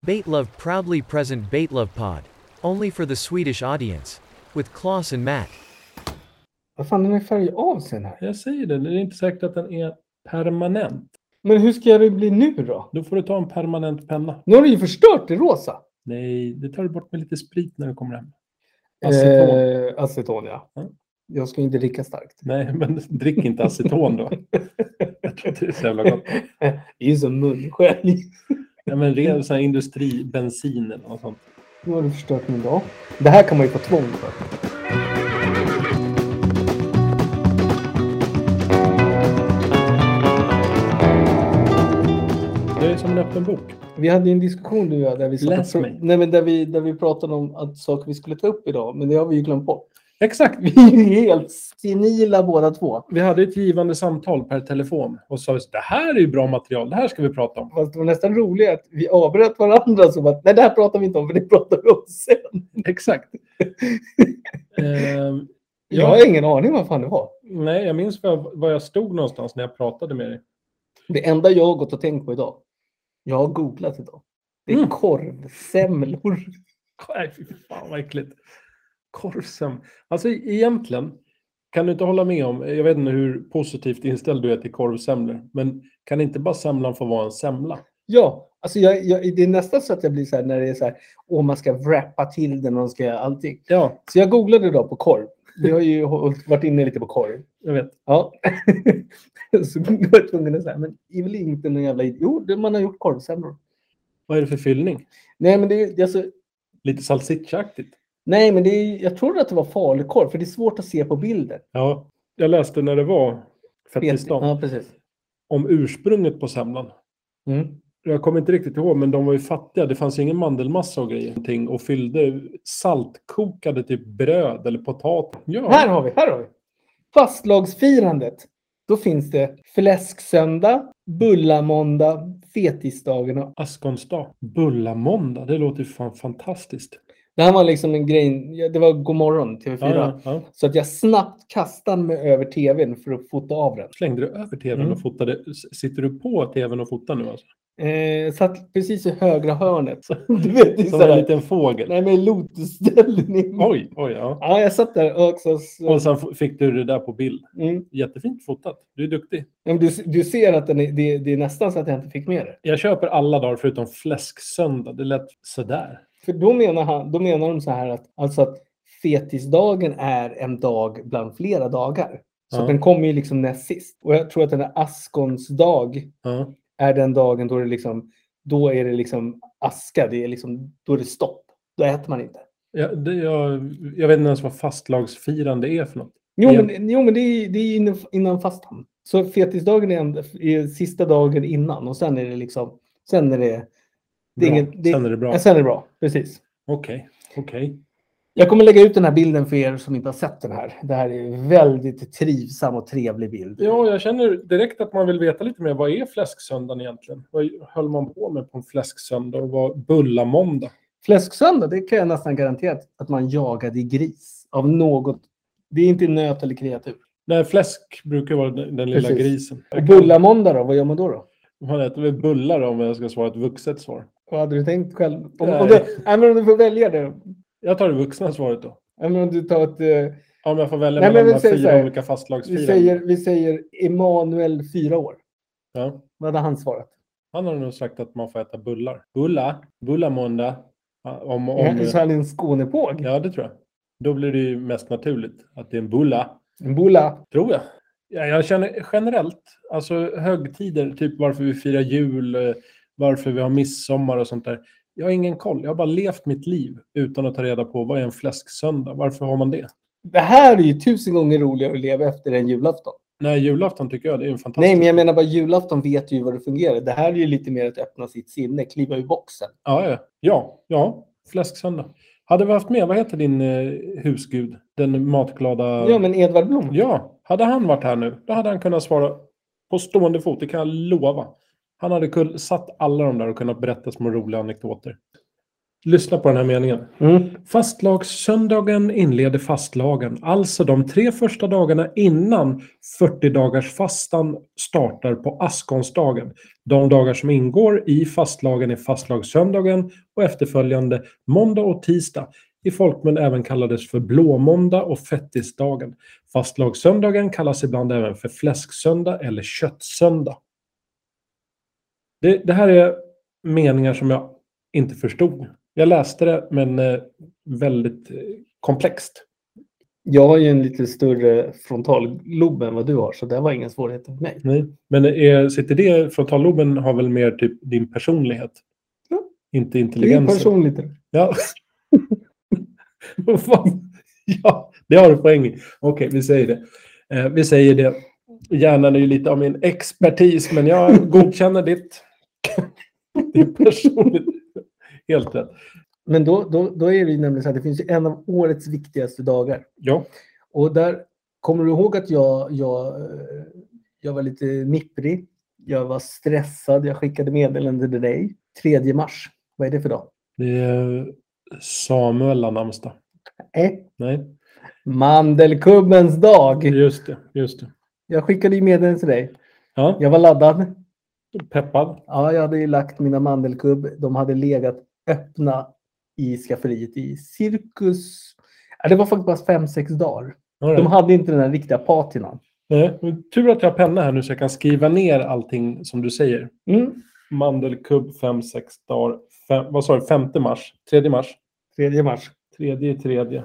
Baitlove proudly present Baitlove Pod. Only for the Swedish audience. With Klaus and Matt. Vad fan, den är färg av sig den här. Jag säger det, det är inte säkert att den är permanent. Men hur ska det bli nu då? Då får du ta en permanent penna. Nu har du ju förstört det rosa. Nej, det tar du bort med lite sprit när du kommer hem. Aceton. Aceton. Eh, aceton, ja. Mm. Jag ska ju inte dricka starkt. Nej, men drick inte aceton då. det är så jävla gott. Det är ju som munskölj. Ja, men ren sån här industribensin eller något sånt. Nu har du förstört min dag. Det här kan man ju få tvång för. Det är som en öppen bok. Vi hade ju en diskussion du och jag där vi, satt och Läs pro- mig. Nej, men där vi, där vi pratade om att saker vi skulle ta upp idag, men det har vi ju glömt bort. Exakt. Vi är ju helt senila båda två. Vi hade ett givande samtal per telefon och sa just det här är ju bra material, det här ska vi prata om. Fast det var nästan roligt att vi avbröt varandra som att nej, det här pratar vi inte om, för det pratar vi om sen. Exakt. Ehm, Jag ja, har ingen aning vad fan det var. nej, jag minns var jag, var jag stod någonstans när jag pratade med dig. Det enda jag har gått och tänkt på idag. Jag har googlat idag. Det är Mm. korvsemlor. Nej, fy fan vad äckligt. Korvsem. Alltså egentligen kan du inte hålla med om, jag vet inte hur positivt inställd du är till korvsemlor, men kan inte bara semlan få vara en semla? Ja, alltså jag, jag, det är nästan så att jag blir så här när det är så här, åh man ska wrappa till den och man ska göra allting. Ja, Så jag googlade idag på korv. Vi har ju hållit- varit inne lite på korv. jag vet. Ja. så var jag tvungen att säga, men det är väl inte någon jävla idiot. Jo, det- man har gjort korvsemlor. Vad är det för fyllning? Nej, men det är ju- alltså, Lite salsicciaaktigt. nej, men det är, jag trodde att det var falukorv, för det är svårt att se på bilden. Ja, jag läste när det var fettisdagen Ja, precis. om ursprunget på semlan. Mm. Jag kommer inte riktigt ihåg, men de var ju fattiga. Det fanns ju ingen mandelmassa och grejer. någonting, Och fyllde saltkokade typ bröd eller potatis. Här Ja, har vi, här har vi. Fastlagsfirandet. Då finns det fläsksöndag, bullamåndag, fetisdagen. och- askonsdag. Bullamåndag, det låter ju fan fantastiskt. Det här var liksom en grej. ja, Det var god morgon TV4. Ja, ja, ja. Så att jag snabbt kastade mig över tvn för att fota av den. Slängde du över tvn Mm. och fotade? S- Sitter du på tvn och fotar nu alltså? Eh, satt precis i högra hörnet. Så, du vet, det är Som så en här, liten fågel? nej, men lotusställning. Oj, oj, ja. Ja, jag satt där och också. Så, Och sen f- fick du det där på bild. mm. Jättefint fotat. Du är duktig. Ja, men du, du ser att den är, det, det är nästan så att jag inte fick med det. Jag köper alla dagar förutom fläsksöndag. Det lät sådär. För då menar, han, då menar de så här att, alltså att fetisdagen är en dag bland flera dagar. Så Ja. att den kommer ju liksom näst sist. Och jag tror att den här askons dag Ja. är den dagen då det liksom, då är det liksom aska. Det är liksom, då är det stopp. Då äter man inte. Jag, det, jag, jag vet inte ens vad fastlagsfirande är för något. Jo, Ja. men, jo, men det är, det är innan, innan fastan. Så fetisdagen är, en, är sista dagen innan och sen är det liksom, sen är det, det är Bra. inget, det, alltså- Sen är det ja, bra. Okej, sen är det bra. Precis. okej. Jag kommer lägga ut den här bilden för er som inte har sett den här. Det här är en väldigt trivsam och trevlig bild. Ja, jag känner direkt att man vill veta lite mer. Vad är fläsksöndagen egentligen? Vad höll man på med på en fläsksöndag och vad bullamåndag? Fläsksöndag, det kan jag nästan garantera att- att man jagade gris av något. Det är inte nöt eller kreatur. Nej, fläsk brukar vara den, den lilla Precis. grisen. Och bullamåndag då, vad gör man då? då? Man äter väl bullar om jag ska svara ett vuxet svar. Vad hade du tänkt själv? Om, om, Nej. du, nej, men om du får välja det. Jag tar det vuxna svaret då. Nej, men Om du tar ett... eh, Om jag får välja Nej, men mellan de vi här säger så fyra här. olika Vi fastlagsfiranden. säger, vi säger Emanuel, fyra år. Ja. Vad hade han svarat? Han har nog sagt att man får äta bullar. Bulla, bullamåndag. Ja, Om, om, Om, så han är en Skånepåg. ja, det tror jag. Då blir det ju mest naturligt att det är en bulla. En bulla. Tror jag. Ja, jag känner generellt, alltså högtider, typ varför vi firar jul, eh, varför vi har midsommar och sånt där. Jag har ingen koll. Jag har bara levt mitt liv utan att ta reda på vad är en fläsksöndag. Varför har man det? Det här är ju tusen gånger roligare att leva efter än julafton. Nej, julafton tycker jag det är en fantastisk... Nej, men jag menar bara julafton vet ju vad det fungerar. Det här är ju lite mer att öppna sitt sinne, kliva ur boxen. Ja, ja. ja, ja. Fläsksöndag. Hade vi haft med, vad heter din eh, husgud? Den matglada... Ja, men Edvard Blom. Ja, hade han varit här nu, då hade han kunnat svara på stående fot, det kan jag lova. Han hade kun- satt alla de där och kunnat berätta små roliga anekdoter. Lyssna på den här meningen. Mm. Fastlagssöndagen inleder fastlagen, alltså de tre första dagarna innan 40 dagars fastan startar på askonsdagen. De dagar som ingår i fastlagen är fastlagssöndagen och efterföljande måndag och tisdag. I folkmun även kallades för blåmåndag och fettisdagen. Fastlagssöndagen kallas ibland även för fläsksöndag eller köttsöndag. Det, det här är meningar som jag inte förstod. Jag läste det, men eh, väldigt eh, komplext. Jag har ju en lite större frontallob än vad du har, så det var ingen svårighet för mig. Nej. Men är, sitter det, frontalloben har väl mer typ din personlighet? Ja. Inte Det är intelligensen. personligt. Ja. Vad fan? ja, det har du poäng i. Okej, vi säger det. Eh, vi säger det. Hjärnan är ju lite av min expertis, men jag godkänner ditt. det är personligt. Helt rätt. Men då, då, då är det ju nämligen så här, det finns ju en av årets viktigaste dagar. Ja. Och där kommer du ihåg att jag, jag, eh, jag var lite nipprig. Jag var stressad. Jag skickade meddelande till dig. 3 mars. Vad är det för dag? Det är Samuel har namnsdag. Eh, Nej, mandelkubbens dag. just det. Just det. Jag skickade ju meddelande till dig. Ja, Jag var laddad. peppad. Ja, jag hade ju lagt mina mandelkubb. De hade legat öppna i skafferiet i cirkus. Ja, Det var faktiskt bara fem sex dagar. All De right. hade inte den här riktiga patinan. Nej, men Tur att jag har penna här nu så jag kan skriva ner allting som du säger. Mm. Mandelkubb 5-6 dagar. Fem, vad sa du? 5 mars? 3 mars? 3 mars. 3 3.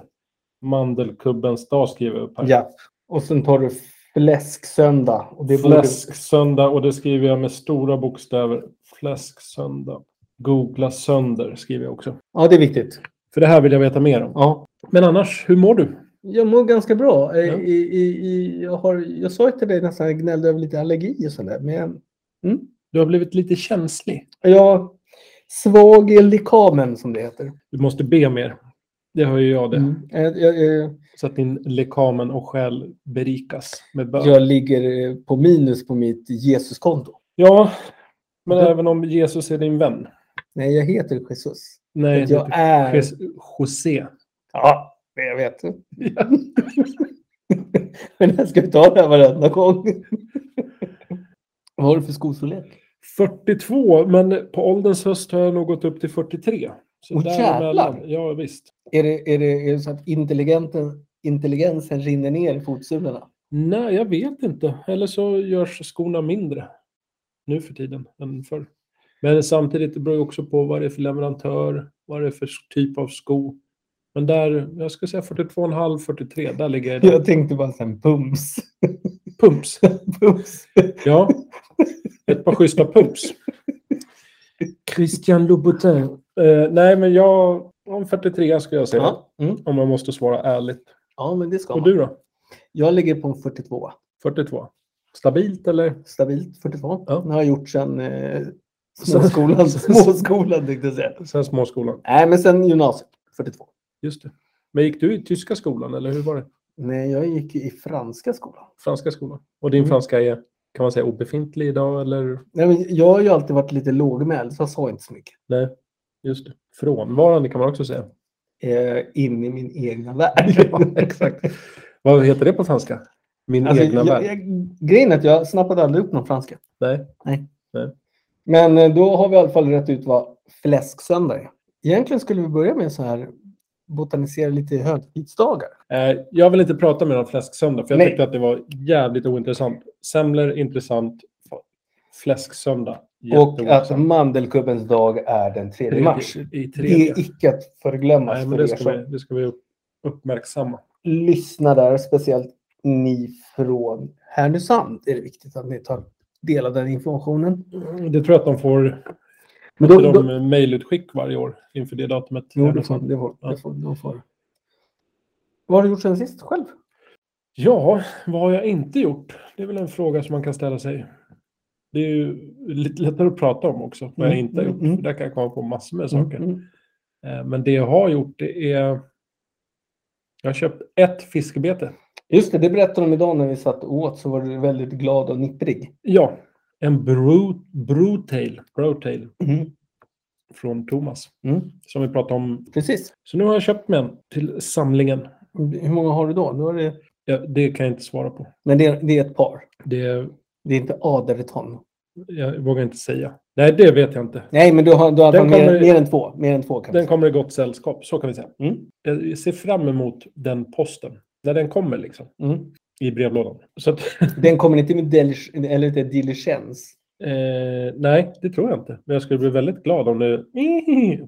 Mandelkubbens dag skriver jag upp här. Ja. Och sen tar du fläsksöndag. Och det borde- Fläsksöndag och det skriver jag med stora bokstäver. Fläsksöndag. Googla sönder skriver jag också. Ja, det är viktigt. För det här vill jag veta mer om. Ja. Men annars, hur mår du? Jag mår ganska bra. Eh, Ja. I, i, i, jag, har, jag sa ju till dig nästan, jag gnällde över lite allergi och sådär. Men jag- Du har blivit lite känslig. jag svag i lekamen som det heter. Du måste be mer. Det hör ju jag det. Mm. Eh, Jag, jag, Så att din lekamen och själ berikas med bön. jag ligger eh, på minus på mitt Jesuskonto. Ja, men Du- även om Jesus är din vän. Nej, jag heter Jesus. Nej, det Jag heter är... Jes- José. Ja, det jag vet. Men jag ska vi ta det här varenda gång. Vad har du för skostorlek? 42, men på ålderns höst har jag nog gått upp till 43. Så Åh, däremellan- jävlar! Ja, visst. Är det, är det, är det så att intelligenten, intelligensen rinner ner i fotsulorna? Nej, jag vet inte. Eller så görs skorna mindre nu för tiden än förr. Men samtidigt det beror ju också på vad det är för leverantör, vad det är för typ av sko. Men där, jag skulle säga 42,5, 43, där ligger jag idag. Jag tänkte bara sen pums. Pumps. pums. Ja, ett par schyssta pumps. Christian Louboutin. Eh, nej, men jag... Om 43 skulle jag säga. Ja. Mm. Om man måste svara ärligt. ja, men det ska Och man. du då? Jag ligger på en 42. 42? Stabilt eller? Stabilt 42. Ja. Det har jag gjort sedan eh, småskolan. småskolan tänkte jag säga. Sen småskolan. Nej, men sen gymnasiet. 42. Just det. Men gick du i tyska skolan eller hur var det? Nej, jag gick i franska skolan. Franska skolan? Och din Mm. franska är, kan man säga, obefintlig idag eller? Nej, men jag har ju alltid varit lite lågmäld, så jag sa inte så mycket. Nej, just det. Frånvarande kan man också säga. Eh, in i min egna värld. Ja, exakt. Vad heter det på franska? Min Alltså, egna jag, värld? jag, grejen är att jag snappade aldrig upp någon franska. Nej. Men eh, då har vi i alla fall rätt ut vad fläsksöndag är. Egentligen skulle vi börja med så här botanisera lite i högtidsdagar. Eh, Jag vill inte prata mer om fläsksöndag, för jag Nej. tyckte att det var jävligt ointressant. Semlor, intressant. Fläsksöndag, Och jätteintressant. att mandelkubbens dag är den 3 mars. I Det tredje. är icke att förglömmas Nej, men för er det ska, som vi, det ska vi upp- uppmärksamma. lyssnar där, speciellt ni från Härnösand. Är det viktigt att ni tar del av den informationen. Det tror jag att de får Men då, då, då, de mejlutskick varje år inför det datumet. jo, det får, det, får, det, får, det får. Vad har du gjort sen sist själv? Ja, vad har jag inte gjort? Det är väl en fråga som man kan ställa sig. Det är ju lite lättare att prata om också, vad jag Mm, inte har gjort. mm, För där kan jag komma på massor med saker. Mm, mm. Eh, Men det jag har gjort det är... Jag har köpt ett fiskebete. Just det, det berättade de idag när vi satt och åt så var du väldigt glad och nipprig. Ja, en bro, brotail. brotail. från Thomas. Mm. Som vi pratade om. Precis. Så nu har jag köpt mig en till samlingen. Hur många har du då? Nu har det... Ja, det kan jag inte svara på. Men det, det är ett par. Det, Det är inte aderton. jag vågar inte säga. Nej, det vet jag inte. Nej, men du har, du har Den mer, kommer- mer än två. Mer än två kan man Den säga. kommer i gott sällskap, så kan vi säga. Mm. Jag ser fram emot den posten. När den kommer liksom. Mm. I brevlådan. Så att, Den kommer inte med delig, eller inte diligens. eh, nej, det tror jag inte. Men jag skulle bli väldigt glad om det...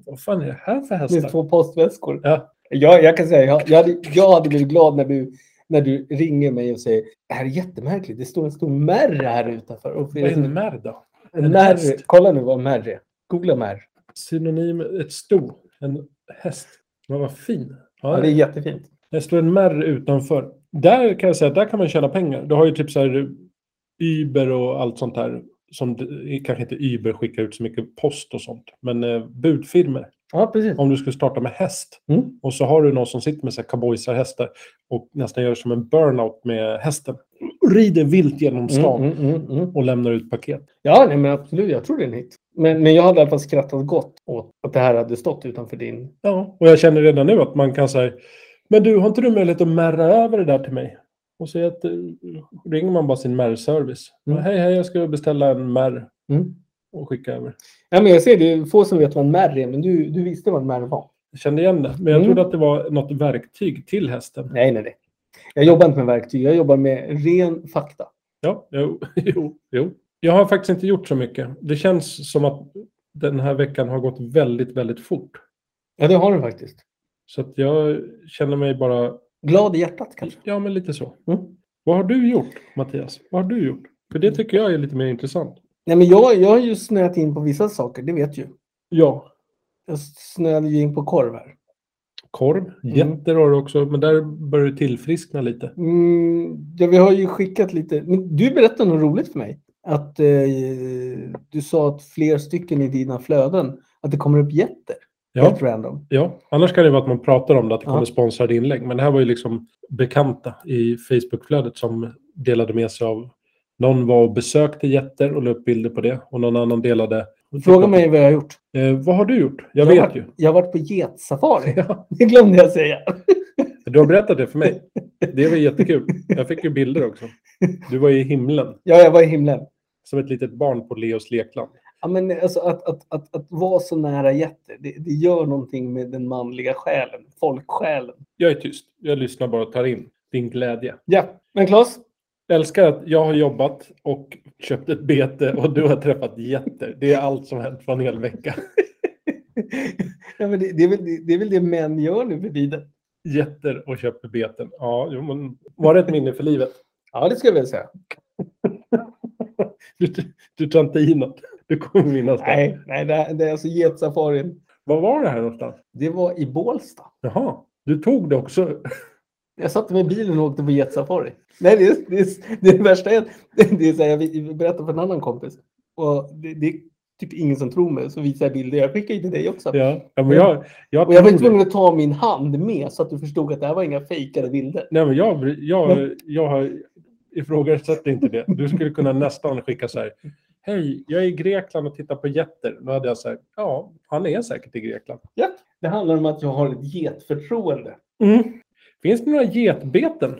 Vad fan är det här för Med hästar? två postväskor. Ja. Jag, jag kan säga, jag, jag, hade, jag hade blivit glad när du, när du ringer mig och säger det här är jättemärkligt. Det står en stor märr här utanför. Och Vad är en märda? en märr. häst? Kolla nu vad märr är. Googla märr. Synonym, ett sto. En häst. Men vad fin. Ja, Ja, det är jättefint. Det står en märr utanför. Där kan jag säga att där kan man tjäna pengar. Du har ju typ så här Uber och allt sånt här. Som det- kanske inte Uber skickar ut så mycket post och sånt. Men eh, budfirmer. Ja, precis. Om du skulle starta med häst. Mm. Och så har du någon som sitter med så här cowboysarhästar. Och nästan gör som en burnout med hästen. Rider vilt genom stan. Mm, mm, mm, mm. Och lämnar ut paket. Ja, nej, men absolut. Jag tror det är en hit. Men, men jag hade i alla fall skrattat gott åt att det här hade stått utanför din... Ja, och jag känner redan nu att man kan säga Men du, har inte du möjlighet att märra över det där till mig? Och så är att, eh, ringer man bara sin märrservice. Mm. Hej, hej, jag ska beställa en märr Mm. och skicka över. Ja, men jag ser, det är få som vet vad en märr är, men du, du visste vad en märr var. Jag kände igen det, men jag Mm. trodde att det var något verktyg till hästen. Nej, nej, nej. Jag jobbar inte med verktyg. Jag jobbar med ren fakta. Ja, jo, jo, jo. Jag har faktiskt inte gjort så mycket. Det känns som att den här veckan har gått väldigt, väldigt fort. Ja, det har du faktiskt. Så att jag känner mig bara, Glad i hjärtat kanske. ja men lite så. Mm. Vad har du gjort, Mattias? Vad har du gjort? För det tycker jag är lite mer intressant. Nej, men jag, jag har ju snöat in på vissa saker, det vet ju. Ja, Jag snöade ju in på korv här. Korv. Getter har du också, men där börjar du tillfriskna lite. Mm, ja, vi har ju skickat lite. Men du berättade något roligt för mig. Att eh, du sa att fler stycken i dina flöden, att det kommer upp jätter. Ja, Helt random. ja. Annars kan det vara att man pratar om det, att det Mm. Ja. kommer sponsrade inlägg. Men det här var ju liksom bekanta i Facebookflödet som delade med sig av... Någon var och besökte getter och la upp bilder på det. Och någon annan delade... Fråga mig vad jag har gjort. Eh, vad har du gjort? Jag, har vet varit- ju. Jag har varit på getsafari. Ja, Det glömde jag säga. du har berättat det för mig. Det var jättekul. Jag fick ju bilder också. Du var i himlen. Ja, jag var i himlen. Som ett litet barn på Leos lekland. Ja, men alltså att, att, att, att vara så nära jätter, det, det gör någonting med den manliga själen, folksjälen. Jag är tyst. Jag lyssnar bara och tar in din glädje. Ja, men Claes, Jag älskar att jag har jobbat och köpt ett bete och du har träffat jätter. Det är allt som hänt på en hel vecka. ja, men det, det, är väl, det, det är väl det män gör nu för tiden. Jätter och köper beten. Ja, jo, men var det ett minne för livet? Ja, det skulle jag vilja säga. Du, du tar inte i något. Du kommer minnas det. Nej, nej det, det är alltså getsafarin. Vad var det här någonstans? Det var i Bålsta. Jaha, du tog det också. Jag satte mig i bilen och åkte på getsafari. Nej, det, är- det, är- det, är det värsta är att det är så här, jag vill- berättar för en annan kompis. Och det, det är typ ingen som tror mig, så visar jag bilder. Jag skickar ju till dig också. Ja, ja men jag, jag, Och jag var tog- tvungen att ta min hand med så att du förstod att det här var inga fejkade bilder. Nej, men jag, jag, jag har ifrågasätter inte det. Du skulle kunna nästan skicka så här. Hej, jag är i Grekland och tittar på jätter. Då hade jag sagt, ja, han är säkert i Grekland. Det handlar om att jag har ett getförtroende. Mm. Finns det några getbeten?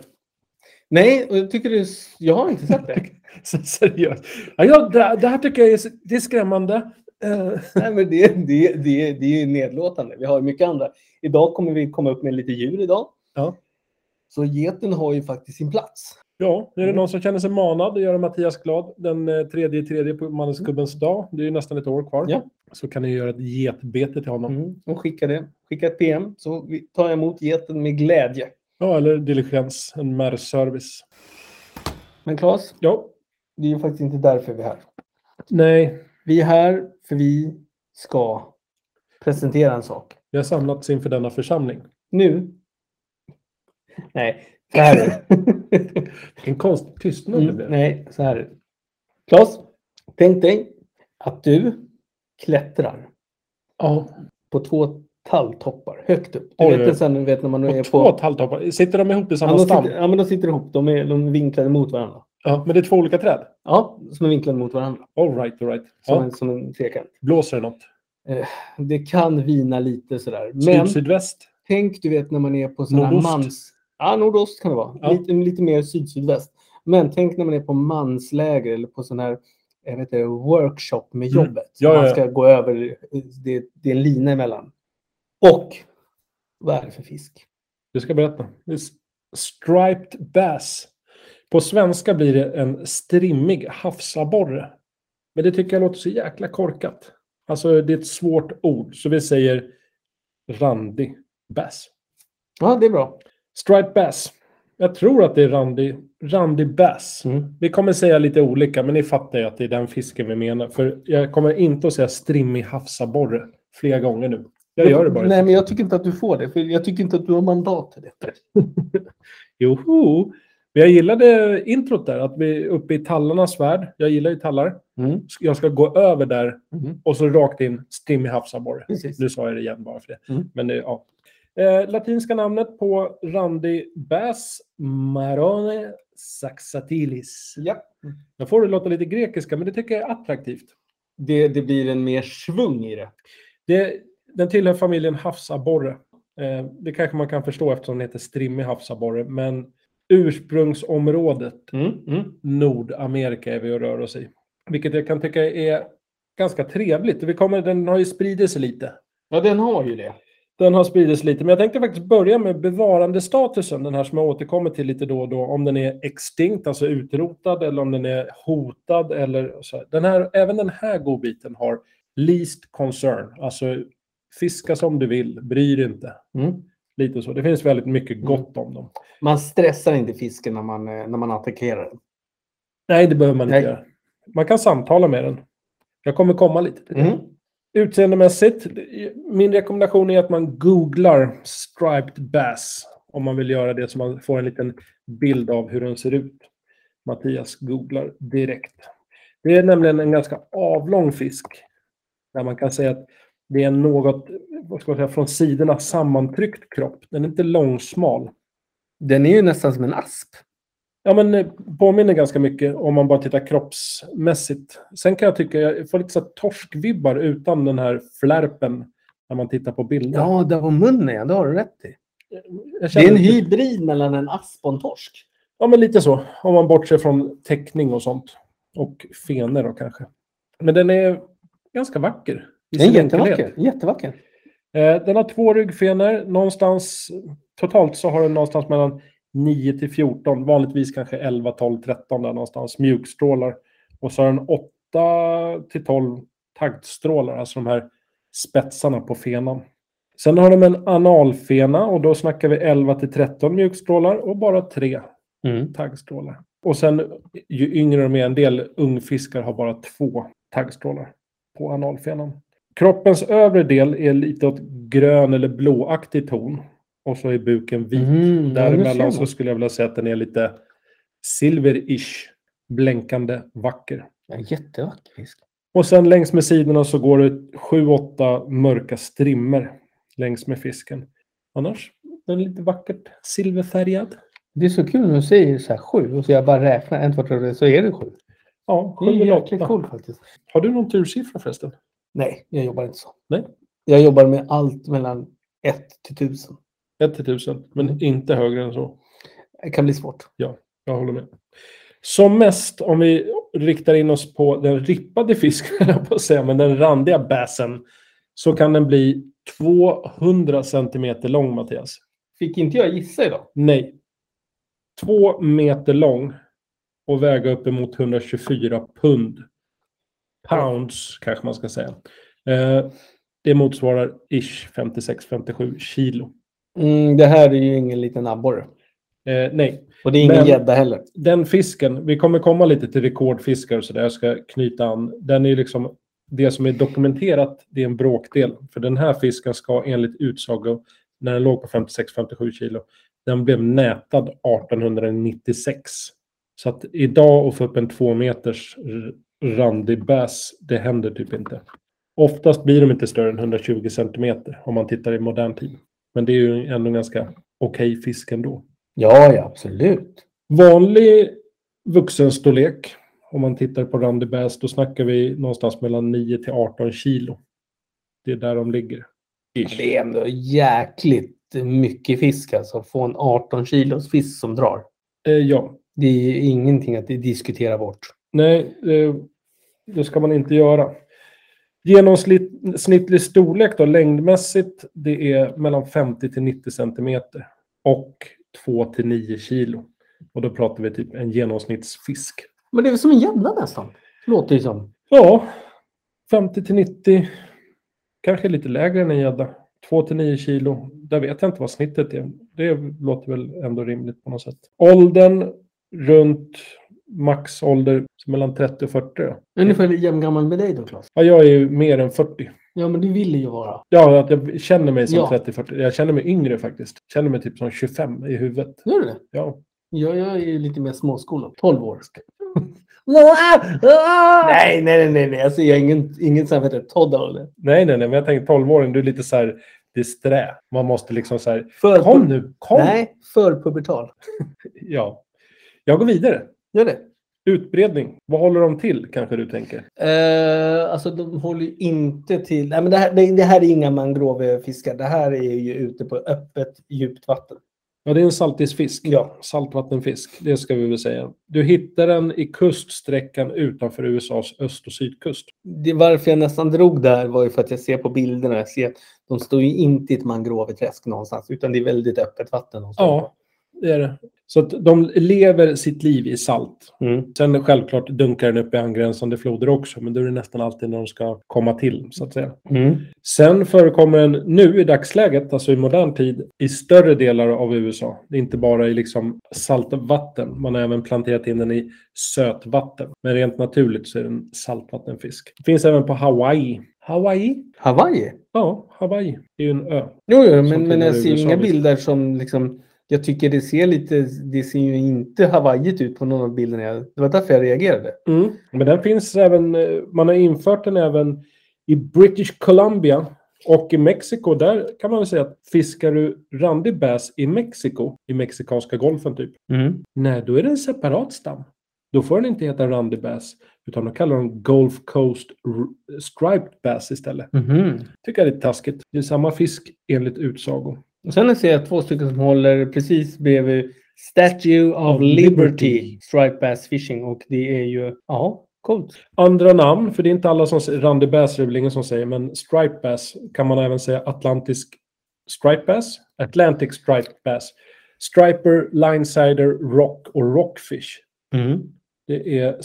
Nej, och jag tycker det är, s- jag har inte sett det. Så Seriöst. Ja, ja, det, det här tycker jag är, s- det är skrämmande. Eh, Nej, men det, det, det, det är ju nedlåtande. Vi har mycket andra. Idag kommer vi komma upp med lite djur idag. Ja. Så geten har ju faktiskt sin plats. ja, är det Mm. någon som känner sig manad att göra Mattias glad den eh, tredje i tredje på Mannesgubbens dag, det är ju nästan ett år kvar, Ja. så kan ni göra ett getbete till honom. Mm. Och skicka det. Skicka ett PM så vi tar jag emot geten med glädje. Ja, eller diligens, en märrservice. Men Claes, Ja, det är ju faktiskt inte därför vi är här. nej, Vi är här för vi ska presentera en sak. vi har samlats inför denna församling. Nu. Nej, så här är det. En konstig tystnad det Mm, blev. nej, så här är det. Claes, tänk dig att du klättrar Ja, på två talltoppar högt upp. Du Oj, vet, oj. det sen, du vet när man är och två på... talltoppar. Sitter de ihop i Ja, samma de stam? sitter, ja, men de sitter ihop. De är, de är vinklade mot varandra. Ja, men det är två olika träd? Ja, som är vinklade mot varandra. All right, all right. Som, Ja. en, som en trekant. Blåser det något? eh, det kan vina lite sådär. Men Syd-sydväst. tänk du vet när man är på sådana här Nordost. mans... Ja, nordost kan det vara. Ja. Lite, lite mer syd-sydväst. Men tänk när man är på mansläger eller på sån här jag vet inte, workshop med Mm. jobbet. Ja, ja, man ja. ska gå över, det, det är en lina emellan. Och vad är det för fisk? Du ska berätta. Det är s- Striped bass. På svenska blir det en strimmig havsabborre. Men det tycker jag låter så jäkla korkat. Alltså det är ett svårt ord. Så vi säger randig bass. Ja, det är bra. Striped bass. Jag tror att det är randig, randig bass. Mm. Vi kommer säga lite olika, men ni fattar ju att det är den fisken vi menar. För jag kommer inte att säga strimmig havsabborre flera gånger nu. Jag Mm. gör det bara. Nej, men jag tycker inte att du får det. För jag tycker inte att du har mandat till det. Joho! Men jag gillade introt där, att vi är uppe i tallarnas värld. Jag gillar ju tallar. Mm. Jag ska gå över där Mm. och så rakt in stim i havsabborre. Precis. Nu sa jag det igen bara för det. Mm. Men det, ja. eh, latinska namnet på Randy Bass, Marone Saxatilis. Ja. Jag får det låta lite grekiska, men det tycker jag är attraktivt. Det, det blir en mer svung i det. Det, den tillhör familjen havsabborre. Eh, det kanske man kan förstå eftersom den heter strimmig havsabborre, men ursprungsområdet Mm. Mm. Nordamerika är vi och rör oss i. Vilket jag kan tycka är ganska trevligt. Vi kommer, den har ju spridit sig lite. Ja, den har ju det. Den har spridits lite, men jag tänkte faktiskt börja med bevarandestatusen, den här som jag återkommer till lite då och då, om den är extinkt, alltså utrotad, eller om den är hotad, eller så. här. Den här, även den här godbiten har least concern, alltså fiska som du vill, bry dig inte. Mm. Lite så. Det finns väldigt mycket gott om dem. Man stressar inte fisken när man, eh, när man attackerar den. Nej, det behöver man inte Nej. göra. Man kan samtala med den. Jag kommer komma lite till det. Utseendemässigt, min rekommendation är att man googlar striped bass om man vill göra det så man får en liten bild av hur den ser ut. Mattias googlar direkt. Det är nämligen en ganska avlång fisk. Där man kan säga att det är en något, vad ska man säga, från sidorna sammantryckt kropp. Den är inte långsmal. Den är ju nästan som en asp. Ja, men eh, påminner ganska mycket om man bara tittar kroppsmässigt. Sen kan jag tycka, jag får lite så här torskvibbar utan den här flärpen när man tittar på bilder. Ja, där var munnen igen. Det har du rätt i. jag Det är en lite- hybrid mellan en asp och en torsk. Ja, men lite så. Om man bortser från teckning och sånt. Och fenor då kanske. Men den är ganska vacker. i Den är sin enkelhet. jättevacker. jättevacker. Eh, Den har två ryggfenor. Någonstans, totalt så har den någonstans mellan 9 till 14. Vanligtvis kanske 11, 12, 13 där någonstans. Mjukstrålar. Och så har den 8 till 12 taktstrålar. Alltså de här spetsarna på fenan. Sen har de en analfena och då snackar vi 11 till 13 mjukstrålar och bara 3 Mm. taggstrålar. Och sen, ju yngre de är, en del ungfiskar har bara två taggstrålar på analfenan. Kroppens övre del är lite åt grön eller blåaktig ton. Och så är buken vit. Mm, ja, nu ser Däremellan man. så skulle jag vilja säga att den är lite silverish. Blänkande vacker. Ja, jättevacker fisk. Och sen längs med sidorna så går det sju, åtta mörka strimmor längs med fisken. Annars, den är lite vackert silverfärgad. Det är så kul när du säger så här sju och så jag bara räknar en, två, tre, fyra, så är det sju. Ja, Det sju är eller jäkligt åtta. coolt faktiskt. Har du någon tursiffra förresten? Nej, jag jobbar inte så. Nej. Jag jobbar med allt mellan 1 till 1000. 1 till 1000, men inte högre än så. Det kan bli svårt. Jag håller med. Som mest, om vi riktar in oss på den rippade fisken, höll jag på att säga, men den randiga bassen, så kan den bli 200 centimeter lång, Mattias. Fick inte jag gissa idag? Nej. Två meter lång och väga uppemot 124 pund. Pounds kanske man ska säga. Eh, det motsvarar ish 56-57 kilo. Mm, det här är ju ingen liten abborre. Eh, nej, Och det är ingen Men- gädda heller. den fisken, vi kommer komma lite till rekordfiskar och sådär, jag ska knyta an. Den är ju liksom, det som är dokumenterat, det är en bråkdel. För den här fisken ska enligt utsago, när den låg på 56-57 kilo, den blev nätad 1896. Så att idag att få upp en två meters r- randig bass, det händer typ inte. Oftast blir de inte större än 120 centimeter om man tittar i modern tid. Men det är ju ändå en ganska okej fisk ändå. Ja, ja, absolut. Vanlig vuxenstorlek, om man tittar på Randy Bass, då snackar vi någonstans mellan 9 till 18 kilo. Det är där de ligger. Ish. Det är ändå jäkligt mycket fisk alltså. Få en 18 kilos fisk som drar. Eh, ja. Det är ju ingenting att diskutera bort. Nej, eh, det ska man inte göra. Genomsnittlig storlek då, längdmässigt, det är mellan 50 till 90 centimeter och 2 till 9 kilo. Och då pratar vi typ en genomsnittsfisk. Men det är väl som en gädda nästan. Låter det som. Ja, 50 till 90, kanske lite lägre än en gädda. 2 till 9 kilo, där vet jag inte vad snittet är. Det låter väl ändå rimligt på något sätt. Åldern runt maxålder mellan 30 och 40. då. Ungefär jämngammal med dig då Claes. Ja, jag är ju mer än 40. Ja, men du vill ju vara. Ja, att jag känner mig som Ja. 30-40. Jag känner mig yngre faktiskt. Jag känner mig typ som 25 i huvudet. Gör du det? Ja. Jag, jag är ju lite mer småskola. 12 år. ah! nej, nej, nej, nej, nej. Alltså, jag är ingen, ingen sån här vad heter det, toddler. Nej, nej, nej, men jag tänker 12-åring, du är lite så här disträ. Man måste liksom så här, För, kom nu, kom! Nej, förpubertal. Ja. Jag går vidare. Gör det. Utbredning, vad håller de till kanske du tänker? Eh, alltså de håller ju inte till... Nej, men det, här, det, det här är inga mangrovefiskar. Det här är ju ute på öppet, djupt vatten. Ja, det är en saltisfisk. Ja. Saltvattenfisk, det ska vi väl säga. Du hittar den i kuststräckan utanför USAs öst och sydkust. Det, varför jag nästan drog där var ju för att jag ser på bilderna. Jag ser, att de står ju inte i ett mangroveträsk någonstans, utan det är väldigt öppet vatten. de står Ja, det är det. Så att de lever sitt liv i salt. på. Mm. Sen självklart dunkar den upp i angränsande floder också, men då är det nästan alltid när de ska komma till, så att säga. Mm. Sen förekommer den nu i dagsläget, alltså i modern tid, i större delar av USA. Det är inte bara i liksom saltvatten, man har även planterat in den i sötvatten. Men rent naturligt så är den saltvattenfisk. Finns även på Hawaii. Hawaii? Hawaii? Ja, Hawaii är ju en ö. Jo, jo Som men, men jag tillhör ser USA, inga visst. bilder som liksom... Jag tycker det ser lite... Det ser ju inte hawaiigt ut på någon av bilderna. Jag- Det var därför jag reagerade. Mm. Men den finns även, eh, man har infört den även i British Columbia och i Mexiko. Där kan man väl säga att fiskar du randig bass i Mexiko, i mexikanska golfen typ, Mm. nej då är det en separat stam. Då får den inte heta randig bass, utan då kallar de Gulf Coast R- Striped Bass istället. Mhm. Tycker jag är lite taskigt. Det är samma fisk enligt utsago. Och sen ser jag två stycken som håller precis bredvid Statue of Of Liberty, Liberty. Striped Bass Fishing. Och det är ju... Ja, coolt. Andra namn, för det är inte alla som säger, randig bass är det väl ingen som säger, men stripe bass kan man även säga atlantisk stripe bass, Atlantic stripe bass, striper, linesider, rock och rockfish. Mm. Det är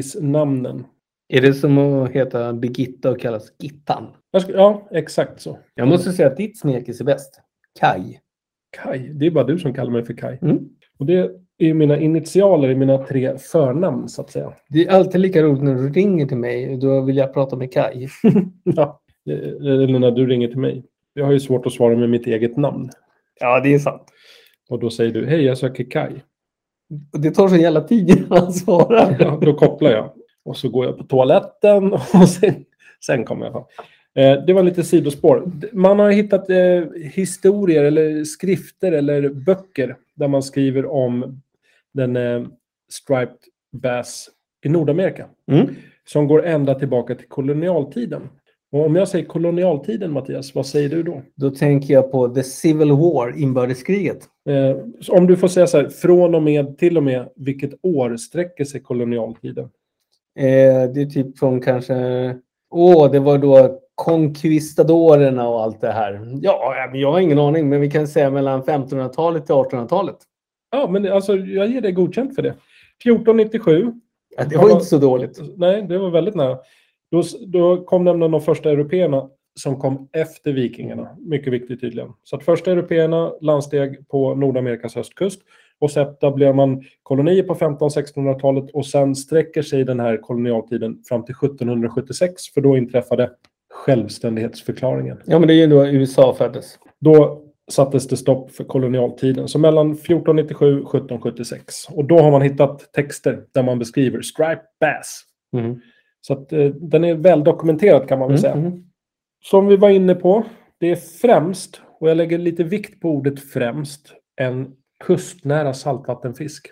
smekisnamnen. Är det som att heta Birgitta och kallas Gittan? Jag ska, ja, exakt så. Jag måste säga att ditt smekis är bäst. Kaj. Kai, det är bara du som kallar mig för Kai. Mm. Och det är ju mina initialer i mina tre förnamn så att säga. Det är alltid lika roligt när du ringer till mig. Då vill jag prata med Kaj. Ja, eller när du ringer till mig. Jag har ju svårt att svara med mitt eget namn. ja, det är sant. Och då säger du, hej jag söker Kai. Och Det tar så jävla tid innan han svarar. Ja, då kopplar jag. Och så går jag på toaletten och sen, sen kommer jag fram. Eh, det var lite sidospår. D- Man har hittat eh, historier eller skrifter eller böcker där man skriver om den eh, striped bass i Nordamerika. Mm. Som går ända tillbaka till kolonialtiden. Och om jag säger kolonialtiden, Mattias, vad säger du då? Då tänker jag på The Civil War, inbördeskriget. Eh, så om du får säga så här, från och med till och med, vilket år sträcker sig kolonialtiden? Eh, det är typ från kanske... Åh, det var då konkvistadorerna och allt det här. Ja, ja, men jag har ingen aning, men vi kan säga mellan 1500-talet till 1800-talet. Ja, men alltså, jag ger dig godkänt för det. 1497. Ja, det var inte så dåligt. Nej, det var väldigt nära. Då, då kom nämligen de första européerna som kom efter vikingarna. Mycket viktigt tydligen. Så att första européerna landsteg på Nordamerikas östkust. Och sen etablerar man kolonier på 1500-1600-talet och sen sträcker sig den här kolonialtiden fram till 1776 för då inträffade självständighetsförklaringen. Ja, men det är ju då USA föddes. Då sattes det stopp för kolonialtiden. Så mellan 1497 och 1776. Och då har man hittat texter där man beskriver striped bass. Mm. Så att, eh, den är väl dokumenterad kan man väl säga. Mm. Som vi var inne på, det är främst, och jag lägger lite vikt på ordet främst, en kustnära saltvattenfisk.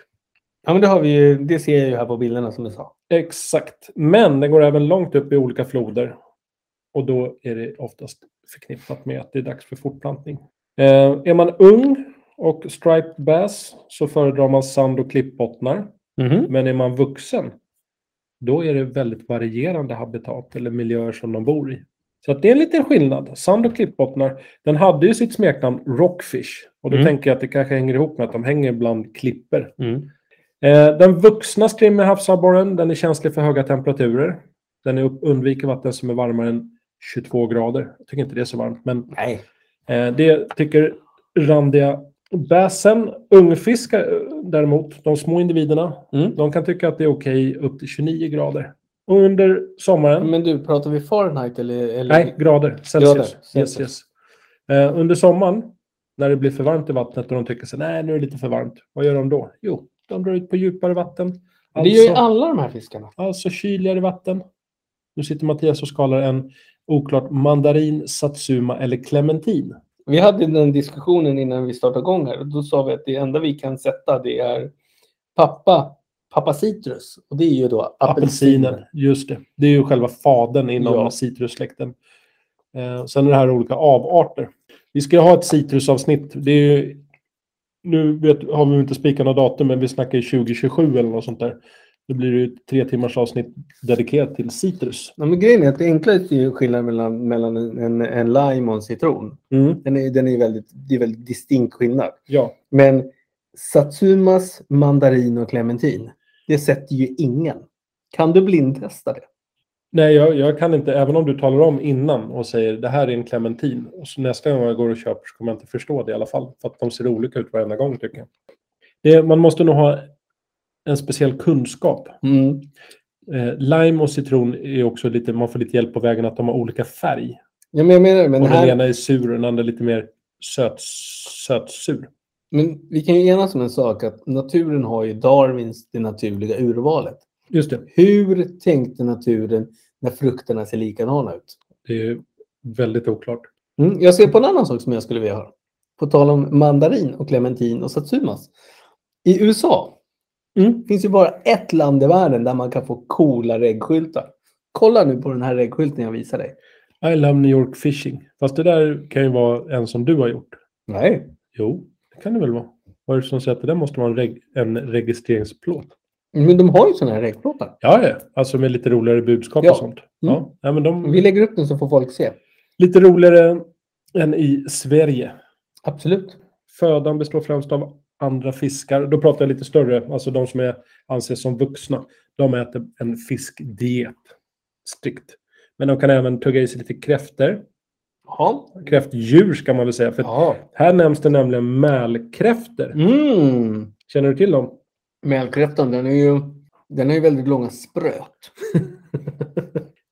Ja, men det, har vi ju, det ser jag ju här på bilderna som du sa. Exakt. Men den går även långt upp i olika floder. Och då är det oftast förknippat med att det är dags för fortplantning. Eh, är man ung och striped bass så föredrar man sand och klippbottnar. Mhm. Men är man vuxen, då är det väldigt varierande habitat eller miljöer som de bor i. Så att det är en liten skillnad. Sand och klippbottnar, den hade ju sitt smeknamn Rockfish. Och då Mm. tänker jag att det kanske hänger ihop med att de hänger bland klipper. Mm. Eh, den vuxna strimmelhavsabborren, den är känslig för höga temperaturer. Den är upp, undviker vatten som är varmare än 22 grader. Jag tycker inte det är så varmt, men Nej. Eh, Det tycker randiga bäsen. Ungfiskar eh, däremot, de små individerna, Mm. de kan tycka att det är okej upp till 29 grader. Och under sommaren, Men du, pratar vi Fahrenheit eller? eller... nej, grader, Celsius. Grader, Yes, Celsius. yes. Eh, under sommaren, när det blir för varmt i vattnet och de tycker så nej nu är det lite för varmt. Vad gör de då? Jo, de drar ut på djupare vatten. Det gör ju alla de här fiskarna. Alltså kyligare vatten. Nu sitter Mattias och skalar en oklart mandarin, satsuma eller clementin. Vi hade den diskussionen innan vi startade igång här. Och då sa vi att det enda vi kan sätta det är pappa, pappa citrus. Och det är ju då apelsiner. Apelsinen, just det. Det är ju själva fadern inom Ja. citrussläkten. Eh, sen är det här olika avarter. Vi ska ju ha ett citrusavsnitt. Det är ju, nu vet, har vi ju inte spikat några datum, men vi snackar ju 2027 eller något sånt där. Då blir det ju ett tre timmars avsnitt dedikerat till citrus. Ja, men grejen är att det enklaste är ju skillnaden mellan, mellan en, en lime och en citron. Den är, den är ju väldigt, det är väldigt distinkt skillnad. Ja, Men Satsumas, mandarin och clementin, det sätter ju ingen. Kan du blindtesta det? nej, jag, jag kan inte, även om du talar om innan och säger det här är en clementin. Och så nästa gång jag går och köper så kommer jag inte förstå det i alla fall. För att de ser olika ut varenda gång tycker jag. Det, man måste nog ha en speciell kunskap Mm. Eh, lime och citron är också lite, man får lite hjälp på vägen att de har olika färg. Ja, men jag menar det, men, och den här, ena är sur och den andra lite mer söt, sötsur. men vi kan ju enas om en sak att naturen har ju Darwins det naturliga urvalet. Just det. Hur tänkte naturen när frukterna ser likadana ut? Det är ju väldigt oklart. Mm, jag ser på en annan sak som jag skulle vilja höra. På tal om mandarin och clementin och satsumas. I USA Mm. finns ju bara ett land i världen där man kan få coola regskyltar. Kolla nu på den här regskylten jag visar dig. I love New York fishing. Fast det där kan ju vara en som du har gjort. Nej. Jo, det kan det väl vara. Vad är det som säger att det där måste vara en, reg- en registreringsplåt? Men de har ju såna här regplåtar. Ja, ja. Alltså med lite roligare budskap Ja. Mm. och sånt. Ja. ja men de, Vi lägger upp den så får folk se. Lite roligare än i Sverige. Absolut. Födan består främst av andra fiskar. Då pratar jag lite större, alltså de som är, anses som vuxna. De äter en fiskdiet strikt. Men de kan även tugga i sig lite kräftor. Jaha. Kräftdjur ska man väl säga. För Ja. Här nämns det nämligen mälkräftor. Mm. Känner du till dem? Mälkräftan, den är ju den har ju väldigt långa spröt.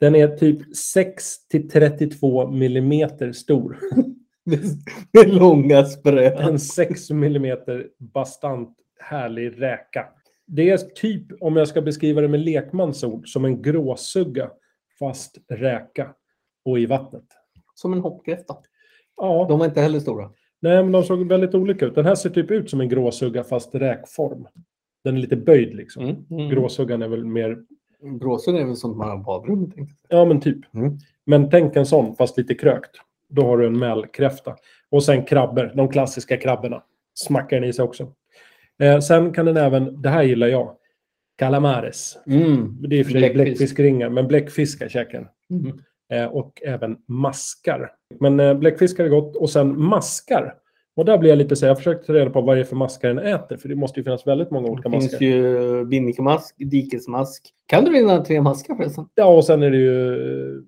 Den är typ 6 till 32 millimeter stor. Det är långa spröt. En 6 millimeter bastant härlig räka. Det är typ, om jag ska beskriva det med lekmans ord, som en gråsugga fast räka och i vattnet. Som en hoppkräfta. Ja, De var inte heller stora. nej, men de såg väldigt olika ut. Den här ser typ ut som en gråsugga fast räkform. Den är lite böjd liksom. Mm, Gråsuggan är väl mer, Gråsund är väl sånt man har i badrummet. tänkte ja men typ. Mm. Men tänk en sån fast lite krökt. Då har du en mälkräfta. Och sen krabbor, de klassiska krabborna. Smackar den i sig också. Eh, sen kan den även, det här gillar jag, calamares. jag. Mm. Det är i och för sig Bläckfisk. bläckfiskringar, men bläckfiskar käkar den. Mm. eh, Och även maskar. Men eh, bläckfiskar är gott. Och sen maskar. Och där blir jag lite så här, jag försöker ta reda på vad det är för maskar den äter. För det måste ju finnas väldigt många olika Det finns maskar. ju binnikemask, dikesmask. Kan du dina tre maskar förresten? Ja, och sen är det ju eh,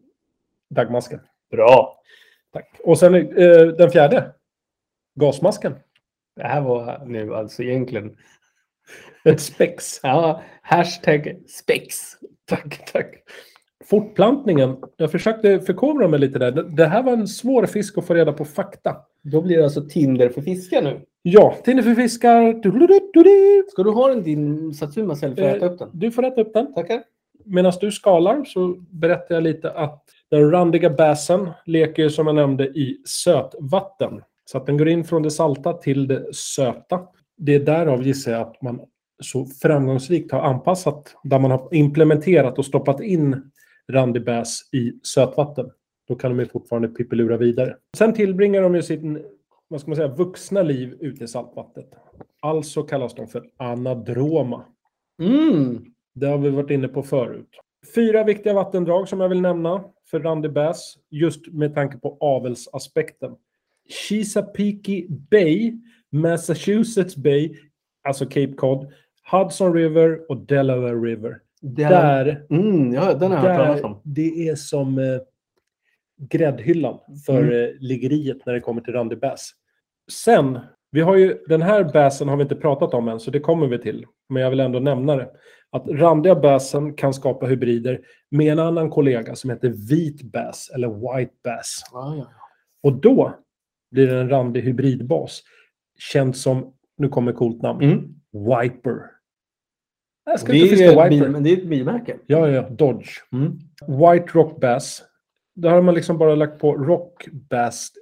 dagmasken. Bra. Tack. Och sen eh, den fjärde. Gasmasken. Det här var nu alltså egentligen. Ett spex. Ja, hashtag spex. Tack, tack. Fortplantningen. Jag försökte förkovra mig lite där. Det- Det här var en svår fisk att få reda på fakta. Då blir det alltså Tinder för fiskar nu. Ja, Tinder för fiskar. Du-du-du-du-du. Ska du ha den din Satsuma själv för att äta upp den? Du får äta upp den. Tackar. Medan du skalar så berättar jag lite att den randiga bassen leker ju som jag nämnde i sötvatten. Så att den går in från det salta till det söta. Det är därav gissar jag att man så framgångsrikt har anpassat, där man har implementerat och stoppat in randig bass i sötvatten. Då kan de ju fortfarande pippelura vidare. Sen tillbringar de ju sin vad ska man säga, vuxna liv ute i saltvattnet. Alltså kallas de för anadroma. Mm. Det har vi varit inne på förut. Fyra viktiga vattendrag som jag vill nämna för Randy Bass, just med tanke på avelsaspekten. Chesapeake Bay, Massachusetts Bay, alltså Cape Cod, Hudson River och Delaware River. Den, Där, Mm, ja, den har jag hört talas där om. det är som eh, gräddhyllan för Mm. eh, liggeriet när det kommer till Randy Bass. Sen, vi har ju, den här bassen har vi inte pratat om än, så det kommer vi till. Men jag vill ändå nämna det. Att randiga bassen kan skapa hybrider med en annan kollega som heter vit bass eller white bass. Ja, Ah, ja. Och då blir det en randig hybridbas. Känd som, nu kommer ett coolt namn, Mm. Wiper. Jag ska Det, inte är förstå ett Wiper. bil, men det är ett bilmärke. Ja, ja, Dodge. Mm. White Rock Bass. Där har man liksom bara lagt på Rock Bass,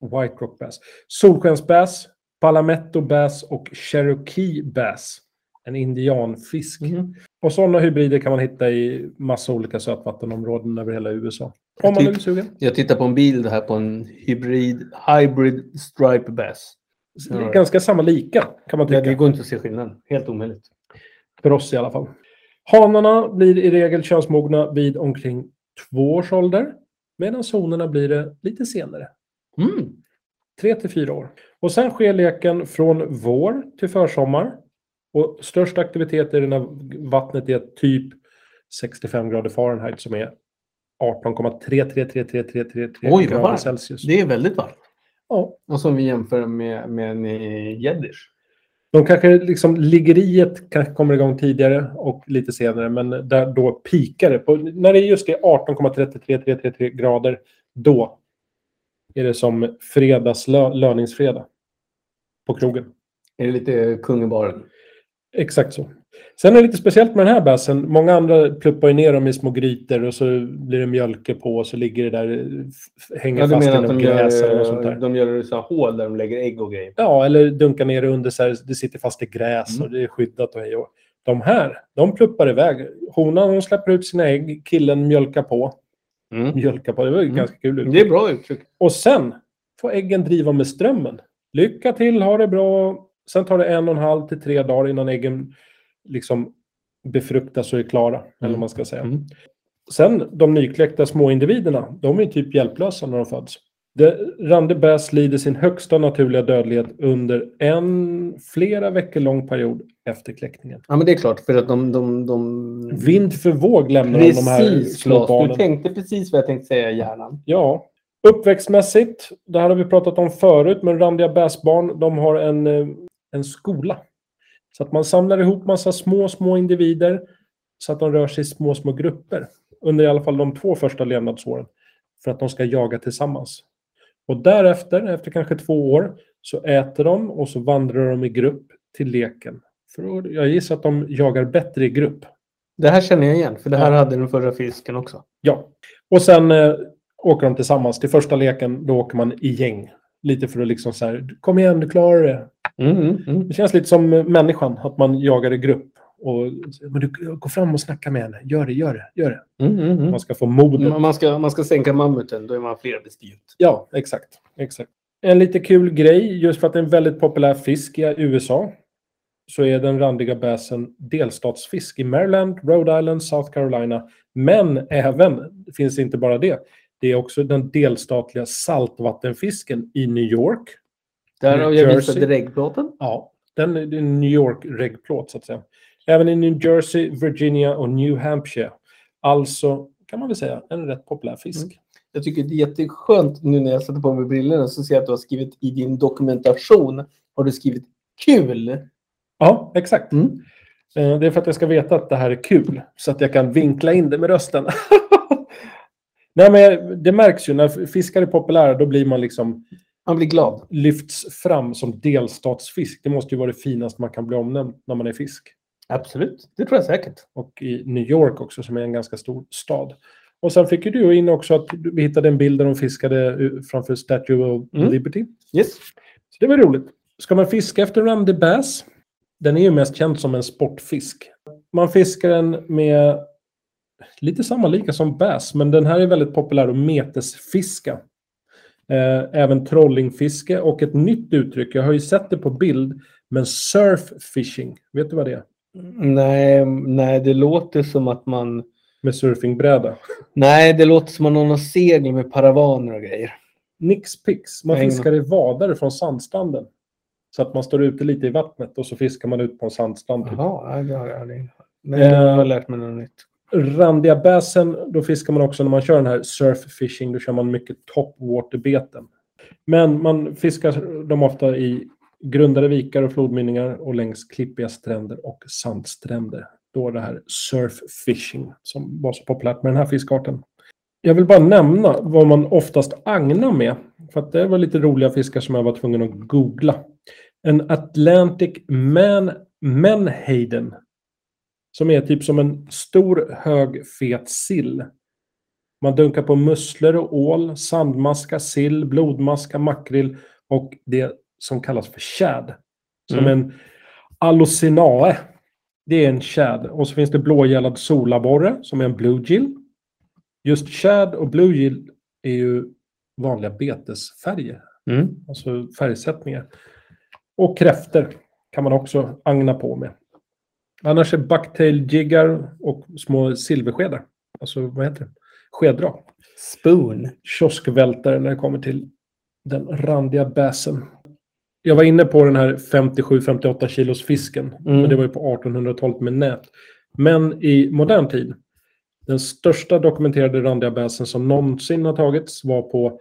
White Rock Bass. Solskens Bass, Palametto Bass och Cherokee Bass. En indianfisk. Mm. Och sådana hybrider kan man hitta i massa olika sötvattenområden över hela USA. Om man Typ. är sugen. Jag tittar på en bild här på en hybrid, hybrid stripe bass. Det är ganska samma lika kan man Det, tycka. det går inte att se skillnaden. Helt omöjligt. För oss i alla fall. Hanarna blir i regel könsmogna vid omkring två års ålder. Medan honorna blir det lite senare. Mm. tre till fyra år. Och sen sker leken från vår till försommar. Och störst aktivitet är det när vattnet är typ 65 grader Fahrenheit som är 18,33333333 Oj, vad grader varmt. Celsius. Det är väldigt varmt. Ja. Och som vi jämför med, med en eh, gäddish. De kanske liksom liggeriet kanske kommer igång tidigare och lite senare, men där då pikar det. På, när det just är 18,333333 grader, då är det som fredagslö, löningsfredag på krogen. Är det lite kungebaren? Exakt så. Sen är det lite speciellt med den här bäsen. Många andra pluppar ju ner dem i små grytor och så blir det mjölke på och så ligger det där, f- hänger Ja, du fast i menar att något de gräs eller något sånt gör, eh, där. de gör så här hål där de lägger ägg och grejer? Ja, eller dunkar ner det under så här, det sitter fast i gräs Mm. och det är skyddat och hej och. De här, de pluppar iväg. Honan hon släpper ut sina ägg, killen mjölkar på. Mjölkar på, det var ju Mm. ganska kul. uttryck. Det är bra uttryck. Och sen får äggen driva med strömmen. Lycka till, ha det bra. Sen tar det en och en halv till tre dagar innan äggen liksom befruktas och är klara. Eller vad man ska säga. Mm. Sen de nykläckta småindividerna, de är typ hjälplösa när de föds. Det- Randy Bass lider sin högsta naturliga dödlighet under en flera veckor lång period efter kläckningen. Ja, men det är klart. För att de... de, de... Vind för våg lämnar de de här Mm. Precis, små Claes. Du barnen. tänkte precis vad jag tänkte säga i hjärnan. Ja. Uppväxtmässigt, det här har vi pratat om förut, men randiga bäsbarn, de har en, eh, en skola. Så att man samlar ihop massa små, små individer så att de rör sig i små, små grupper. Under i alla fall de två första levnadsåren. För att de ska jaga tillsammans. Och därefter, efter kanske två år, så äter de och så vandrar de i grupp till leken. För att- jag gissar att de jagar bättre i grupp. Det här känner jag igen, för det här hade den förra fisken också. Ja. Och sen eh, åker de tillsammans. Till första leken då åker man i gäng. Lite för att liksom så här, kom igen, du klarar det. Mm, Det känns lite som eh, människan, att man jagar i grupp. Och, men du, gå fram och snacka med henne. Gör det, gör det, gör det. mm, Man ska få modet. Man- Man, ska, man ska sänka mammuten, då är man flera bespjut. Ja, exakt. exakt. En lite kul grej, just för att det är en väldigt populär fisk i USA, så är den randiga bäsen delstatsfisk i Maryland, Rhode Island, South Carolina. Men även, det finns inte bara det, det är också den delstatliga saltvattenfisken i New York. Där har jag Jersey. visat dräggplåten. Ja, den är det är en New York-reggplåt så att säga. Även i New Jersey, Virginia och New Hampshire. Alltså, kan man väl säga, en rätt populär fisk. Jag tycker det är jätteskönt nu när jag sätter på mig brillorna så ser jag att du har skrivit i din dokumentation har du skrivit kul. Ja, exakt. Mm. Eh, Det är för att jag ska veta att det här är kul, så att jag kan vinkla in det med rösten. Nej, men det märks ju när fiskar är populära, då blir man liksom Man blir glad. lyfts fram som delstatsfisk. Det måste ju vara det finaste man kan bli omnämnd när man är fisk. Absolut, det tror jag säkert. Och i New York också, som är en ganska stor stad. Och sen fick ju du in också att du- vi hittade en bild där de fiskade eh, framför Statue of Mm. Liberty. Yes. Så det var roligt. Ska man fiska efter Randy Bass? Den är ju mest känd som en sportfisk. Man fiskar den med lite samma lika som bass, men den här är väldigt populär att metesfiska. Eh, även trollingfiske och ett nytt uttryck, jag har ju sett det på bild, men surffishing. Vet du vad det är? Nej, nej, det låter som att man... Med surfingbräda. Nej, det låter som att någon har segel med paravaner och grejer. Nix pix, man Nej, ingen- fiskar i vadare från sandstranden. Så att man står ute lite i vattnet och så fiskar man ut på en sandstrand. typ. Jaha, ja, det har jag aldrig... Nej, det har jag lärt mig något nytt. randiga bäsen, då fiskar man också när man kör den här surffishing, då kör man mycket topwaterbeten. Men man fiskar dem ofta i grundade vikar och flodmynningar och längs klippiga stränder och sandstränder. Då är det här surffishing som var så populärt med den här fiskarten. Jag vill bara nämna vad man oftast agnar med, för att det var lite roliga fiskar som jag var tvungen att googla. En Atlantic man, menhaden som är typ som en stor hög fet sill. Man dunkar på musslor och ål, sandmaska, sill, blodmaska, makrill och det som kallas för tjäd. Som Mm. en allocinae. Det är en tjäd. Och så finns det blågällad solaborre som är en bluegill. Just tjäd och bluegill är ju vanliga betesfärger Mm. alltså färgsättningar. Och kräfter kan man också agna på med. Annars är bucktail jiggar och små silverskedar. Alltså vad heter det? Skedrak. Spoon. Kioskvältare när det kommer till den randiga bäsen. Jag var inne på den här 57-58 kilos fisken. Mm. Men det var ju på 1800-talet med nät. Men i modern tid, den största dokumenterade randiga bäsen som någonsin har tagits var på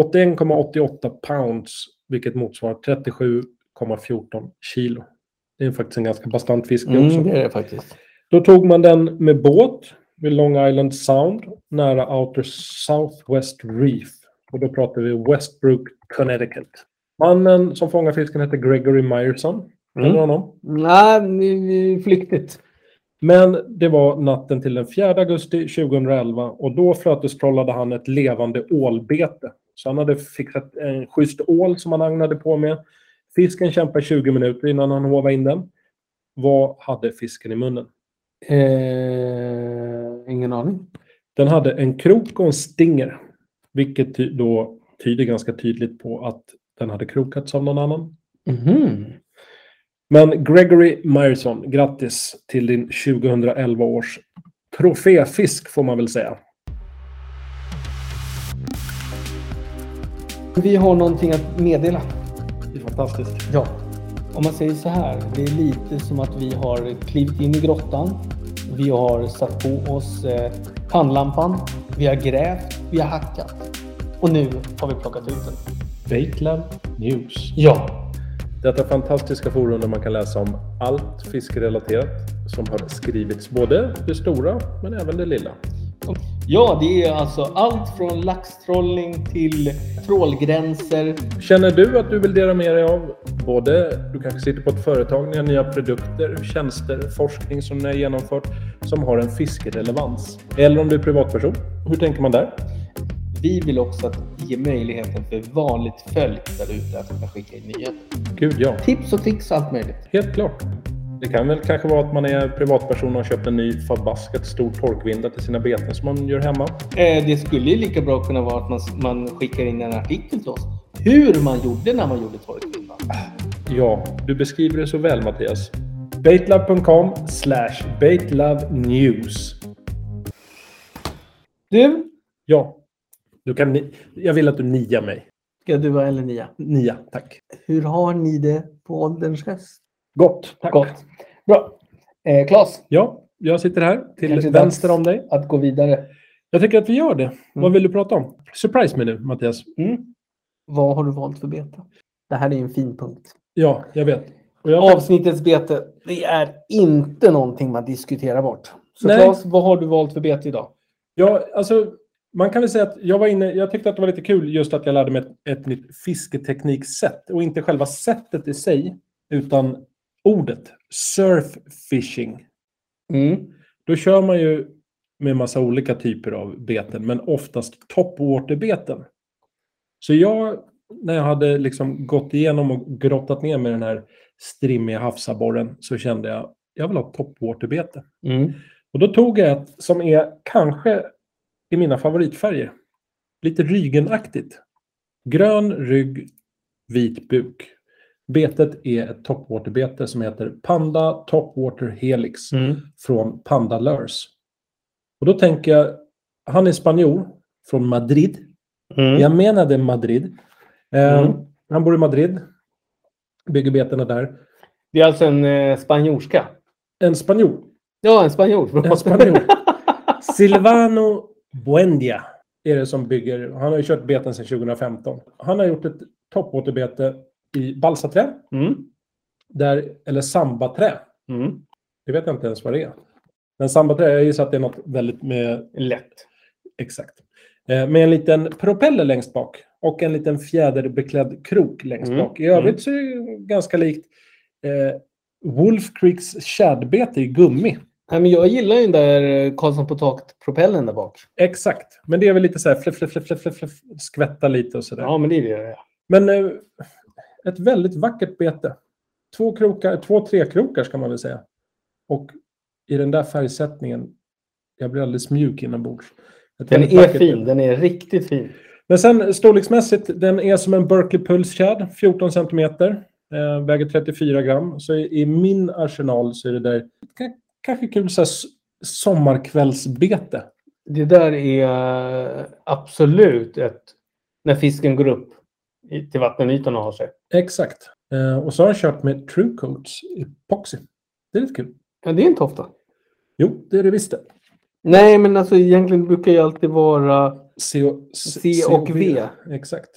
81,88 pounds, vilket motsvarar 37,14 kilo. Det är faktiskt en ganska bastant fisk det också. Mm, det är det faktiskt. Då tog man den med båt vid Long Island Sound nära Outer Southwest Reef. Och då pratar vi Westbrook, Connecticut. Mannen som fångade fisken hette Gregory Myerson. Känner du Mm. honom? Nej, ni- ni- flyktigt. Men det var natten till den 4 augusti 2011 och då flötestrålade han ett levande ålbete. Så han hade fixat en schysst ål som han agnade på med. Fisken kämpade 20 minuter innan han håvade in den. Vad hade fisken i munnen? Eh, ingen aning. Den hade en krok och en stinger, vilket ty- då tyder ganska tydligt på att den hade krokats av någon annan. Mhm. Men Gregory Myerson, grattis till din 2011 års troféfisk får man väl säga. Vi har någonting att meddela. Det är fantastiskt. Ja. Om man säger så här, det är lite som att vi har klivit in i grottan. Vi har satt på oss eh, pannlampan. Vi har grävt, vi har hackat. Och nu har vi plockat ut den. Baitland News. Ja. Detta fantastiska forum där man kan läsa om allt fiskerelaterat som har skrivits, både det stora men även det lilla. Ja, det är alltså allt från laxtrollning till trålgränser. Känner du att du vill dela med dig av både, du kanske sitter på ett företag, ni har nya produkter, tjänster, forskning som ni har genomfört som har en fiskerelevans? Eller om du är privatperson, hur tänker man där? Vi vill också att ge möjligheten för vanligt folk där ute att kunna skicka in nyheter. Gud ja, Tips och tricks och allt möjligt. helt klart. Det kan väl kanske vara att man är privatperson och har köpt en ny förbaskat stor torkvinda till sina beten som man gör hemma. Eh, det skulle ju lika bra kunna vara att man, man skickar in en artikel till oss. Hur man gjorde när man gjorde torkvindan. Ja, du beskriver det så väl Mattias. Baitlove.com slash baitlovenews. Du, Ja, du kan ni- jag vill att du niar mig. ska du vara eller Nia? Nia, tack. Hur har ni det på ålderns höst? Gott. Tack. Gott. Bra. Eh, Klas, Ja, jag sitter här till Kanske vänster dags. Mm. om dig. att gå vidare. Jag tycker att vi gör det. Vad vill du prata om? Surprise me nu, Mattias. Mm. Vad har du valt för bete? Det här är ju en fin punkt. Ja, jag vet. Och jag, Avsnittets bete, det är inte någonting man diskuterar bort. Så Nej. Claes, vad har du valt för bete idag? jag, alltså, man kan väl säga att jag var inne, jag tyckte att det var lite kul just att jag lärde mig ett, ett nytt fisketekniksätt. Och inte själva sättet i sig, utan ordet. Surffishing. Mm. Då kör man ju med massa olika typer av beten, men oftast topwaterbeten. Så jag, när jag hade liksom gått igenom och grottat ner med Mm. den här strimmiga havsabborren så kände jag jag vill ha topwaterbete. Och då tog jag ett som är kanske i mina favoritfärger. Lite rygenaktigt. Grön rygg, vit buk. Betet är ett topwaterbete som heter Panda Topwater Helix Mm. från Panda Lurs. Och då tänker jag, han är spanjor från Madrid. Mm. Jag menade Madrid. Eh, Mm. Han bor i Madrid. Bygger betena där. Det är alltså en eh, spanjorska. En spanjor. Ja, en spanjor. En spanjor. Silvano Buendia är det som bygger. Han har ju kört beten sedan 2015. Han har gjort ett toppåterbete i balsaträ, Mm. där, eller sambaträ. Mm. Det vet jag inte ens vad det är. Men sambaträ, jag gissar att det är något väldigt med... Lätt. Exakt. Eh, Med en liten propeller längst bak och en liten fjäderbeklädd krok längst Mm. bak. I övrigt så är det ju ganska likt eh, Wolf Creeks tjäderbete i gummi. Nej, men jag gillar ju den där eh, Karlsson på taket-propellen där bak. Exakt. Men det är väl lite så här fluff, fluff, fluff, fluff, fluff, fluff, skvätta lite och sådär. Ja, men det är det. Men eh, ett väldigt vackert bete. Två, krokar, två trekrokar ska man väl säga. Och i den där färgsättningen, jag blir alldeles mjuk inombords. Ett Den väldigt är vackert fin. bete. Den är riktigt fin. Men sen storleksmässigt, den är som en Berkeley Pulse Chad, 14 centimeter. Eh, väger 34 gram. Så i, i min arsenal så är det där k- kanske kul så här, s- sommarkvällsbete. Det där är eh, absolut ett... När fisken går upp i- till vattenytan och har sig. Exakt. Eh, och så har jag kört med True Coats i Poxy. Det är lite kul. Ja, det är inte ofta. Jo, det är det visst det. Nej, men alltså egentligen brukar jag alltid vara... C och, C, C och V. Exakt.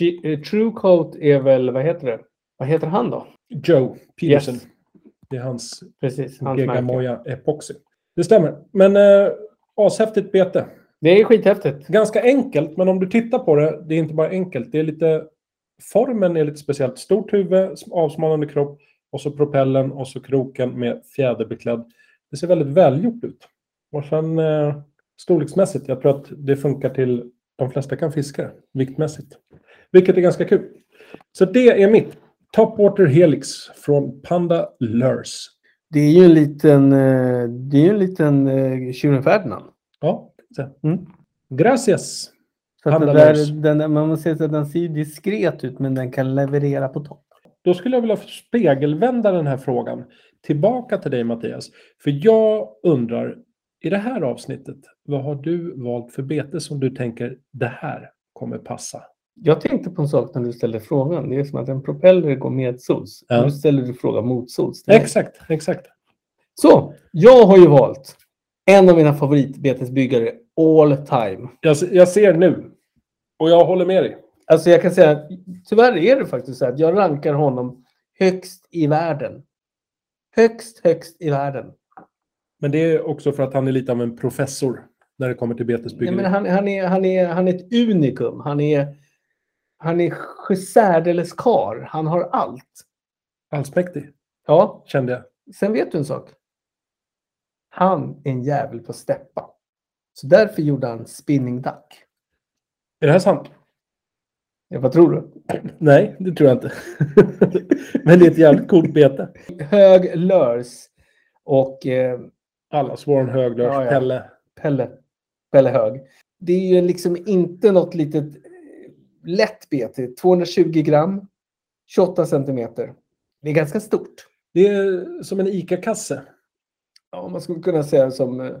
Tri- eh, Truecoat är väl, vad heter det? Vad heter han då? Joe Peterson. Yes. Det är hans Precis, hans märke. Gegamoya Epoxy. Det stämmer. Men eh, ashäftigt bete. Det är skithäftigt. Ganska enkelt, men om du tittar på det, det är inte bara enkelt. Det är lite... Formen är lite speciellt. Stort huvud, sm- avsmalnande kropp och så propellen och så kroken med fjäderbeklädd. Det ser väldigt välgjort ut. Och sen eh, storleksmässigt, jag tror att det funkar till de flesta kan fiska det, viktmässigt. Vilket är ganska kul. Så det är mitt Topwater Helix från Panda Lurs. Det är ju en liten, eh, det är ju en liten eh, tjuren Ferdinand. Ja, så. Mm. Gracias. Så att den Handlar där, den, där- man måste säga att den ser ju diskret ut men den kan leverera på topp. Då skulle jag vilja spegelvända den här frågan tillbaka till dig Mattias. För jag undrar, i det här avsnittet, vad har du valt för bete som du tänker det här kommer passa? Jag tänkte på en sak när du ställde frågan. Det är som att en propeller går medsols. Ja. Nu ställer du frågan motsols. till mig. Exakt, exakt. Så, jag har ju valt en av mina favoritbetesbyggare all time. Jag, se- jag ser nu och jag håller med dig. Alltså jag kan säga att tyvärr är det faktiskt så att jag rankar honom högst i världen. Högst, högst i världen. Men det är också för att han är lite av en professor när det kommer till Nej, betesbyggeri. men han, han, är, han, är, han är ett unikum. Han är, han är särdeles kar. Han har allt. Allsmäktig, Ja, kände jag. sen vet du en sak. Han är en jävel på att steppa. Så därför gjorde han spinning duck. Är det här sant? Ja, vad tror du? Nej, det tror jag inte. men det är ett jävligt coolt bete. Hög lörs och eh, Alla Warren Höglöf, Ja, ja. Pelle. Pelle, Pelle Hög. Det är ju liksom inte något litet eh, lätt bete. 220 gram, 28 centimeter. Det är ganska stort. Det är som en ICA-kasse. Ja, man skulle kunna säga som... eh,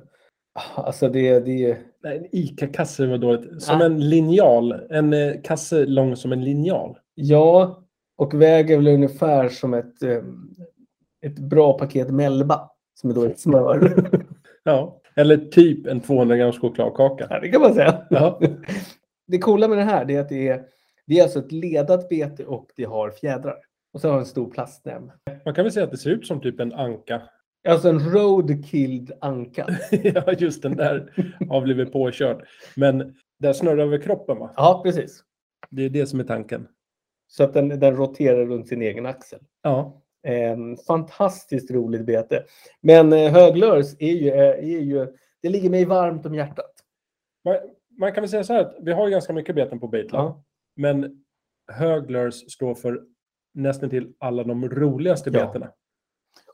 Alltså det, det Nej, en ICA-kasse var dåligt. Som Ah. en linjal. En eh, kasse lång som en linjal. Ja, och väger väl ungefär som ett, eh, ett bra paket Melba. Som är då ett smör. Ja. Eller typ en 200 grams chokladkaka. Ja, det kan man säga. Ja. Det coola med det här det är att det är, det är alltså ett ledat bete och det har fjädrar. Och så har det en stor plastnäbb. Man kan väl säga att det ser ut som typ en anka. Alltså en roadkilled anka. ja, just den där har blivit påkörd. Men den snurrar över kroppen va? Ja, precis. Det är det som är tanken. Så att den, den roterar runt sin egen axel. Ja. Ehm, fantastiskt roligt bete. Men eh, höglörs är ju, eh, är ju... Det ligger mig varmt om hjärtat. Man, man kan väl säga så här att vi har ju ganska mycket beten på Batelab. Ja. Men Höglers står för nästan till alla de roligaste Ja. betena.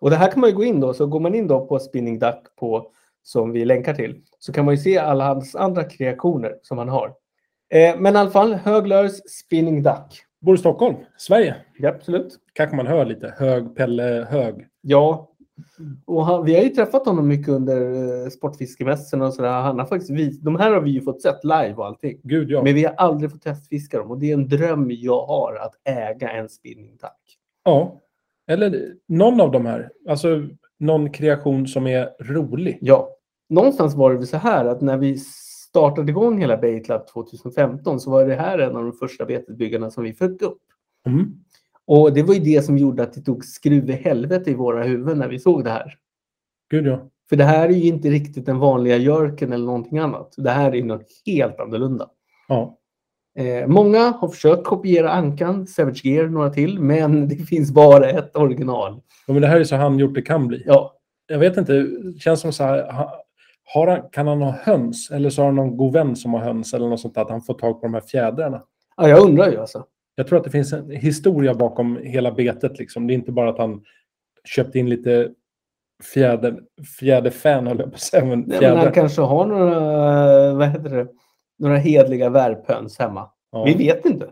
Och det här kan man ju gå in då, så går man in då på Spinning Duck på, som vi länkar till så kan man ju se alla hans andra kreationer som han har. Eh, men i alla fall, Höglörs Spinning Duck. Bor i Stockholm, Sverige. Ja, absolut. Kanske man hör lite. Hög, Pelle, hög. Ja. Och han, vi har ju träffat honom mycket under eh, sportfiskemässorna och sådär. Han har faktiskt vis, de här har vi ju fått sett live och allting. Gud ja. Men vi har aldrig fått testfiska dem och det är en dröm jag har att äga en spinning duck. Ja. Eller någon av de här. Alltså någon kreation som är rolig. Ja. Någonstans var det väl så här att när vi startade igång hela Baitlab 2015 så var det här en av de första betesbyggarna som vi fick upp. Mm. Och det var ju det som gjorde att det tog skruv i helvete i våra huvuden när vi såg det här. Gud ja. För det här är ju inte riktigt den vanliga jörken eller någonting annat. Det här är ju något helt annorlunda. Ja. Eh, många har försökt kopiera Ankan, Savage Gear, några till, men det finns bara ett original. Ja, Men det här är så han gjort det kan bli. Ja, Jag vet inte. det Känns som så här. ha- Har han, kan han ha höns? Eller så har han någon god vän som har höns eller något sånt där, att han får tag på de här fjädrarna. ja jag undrar ju alltså. Jag tror att det finns en historia bakom hela betet. Liksom. Det är inte bara att han köpte in lite fjäder, fjäderfän, höll jag på att säga. Men Nej, men han fjäder. kanske har några, vad heter det, några hedliga värphöns hemma. Ja. Vi vet inte.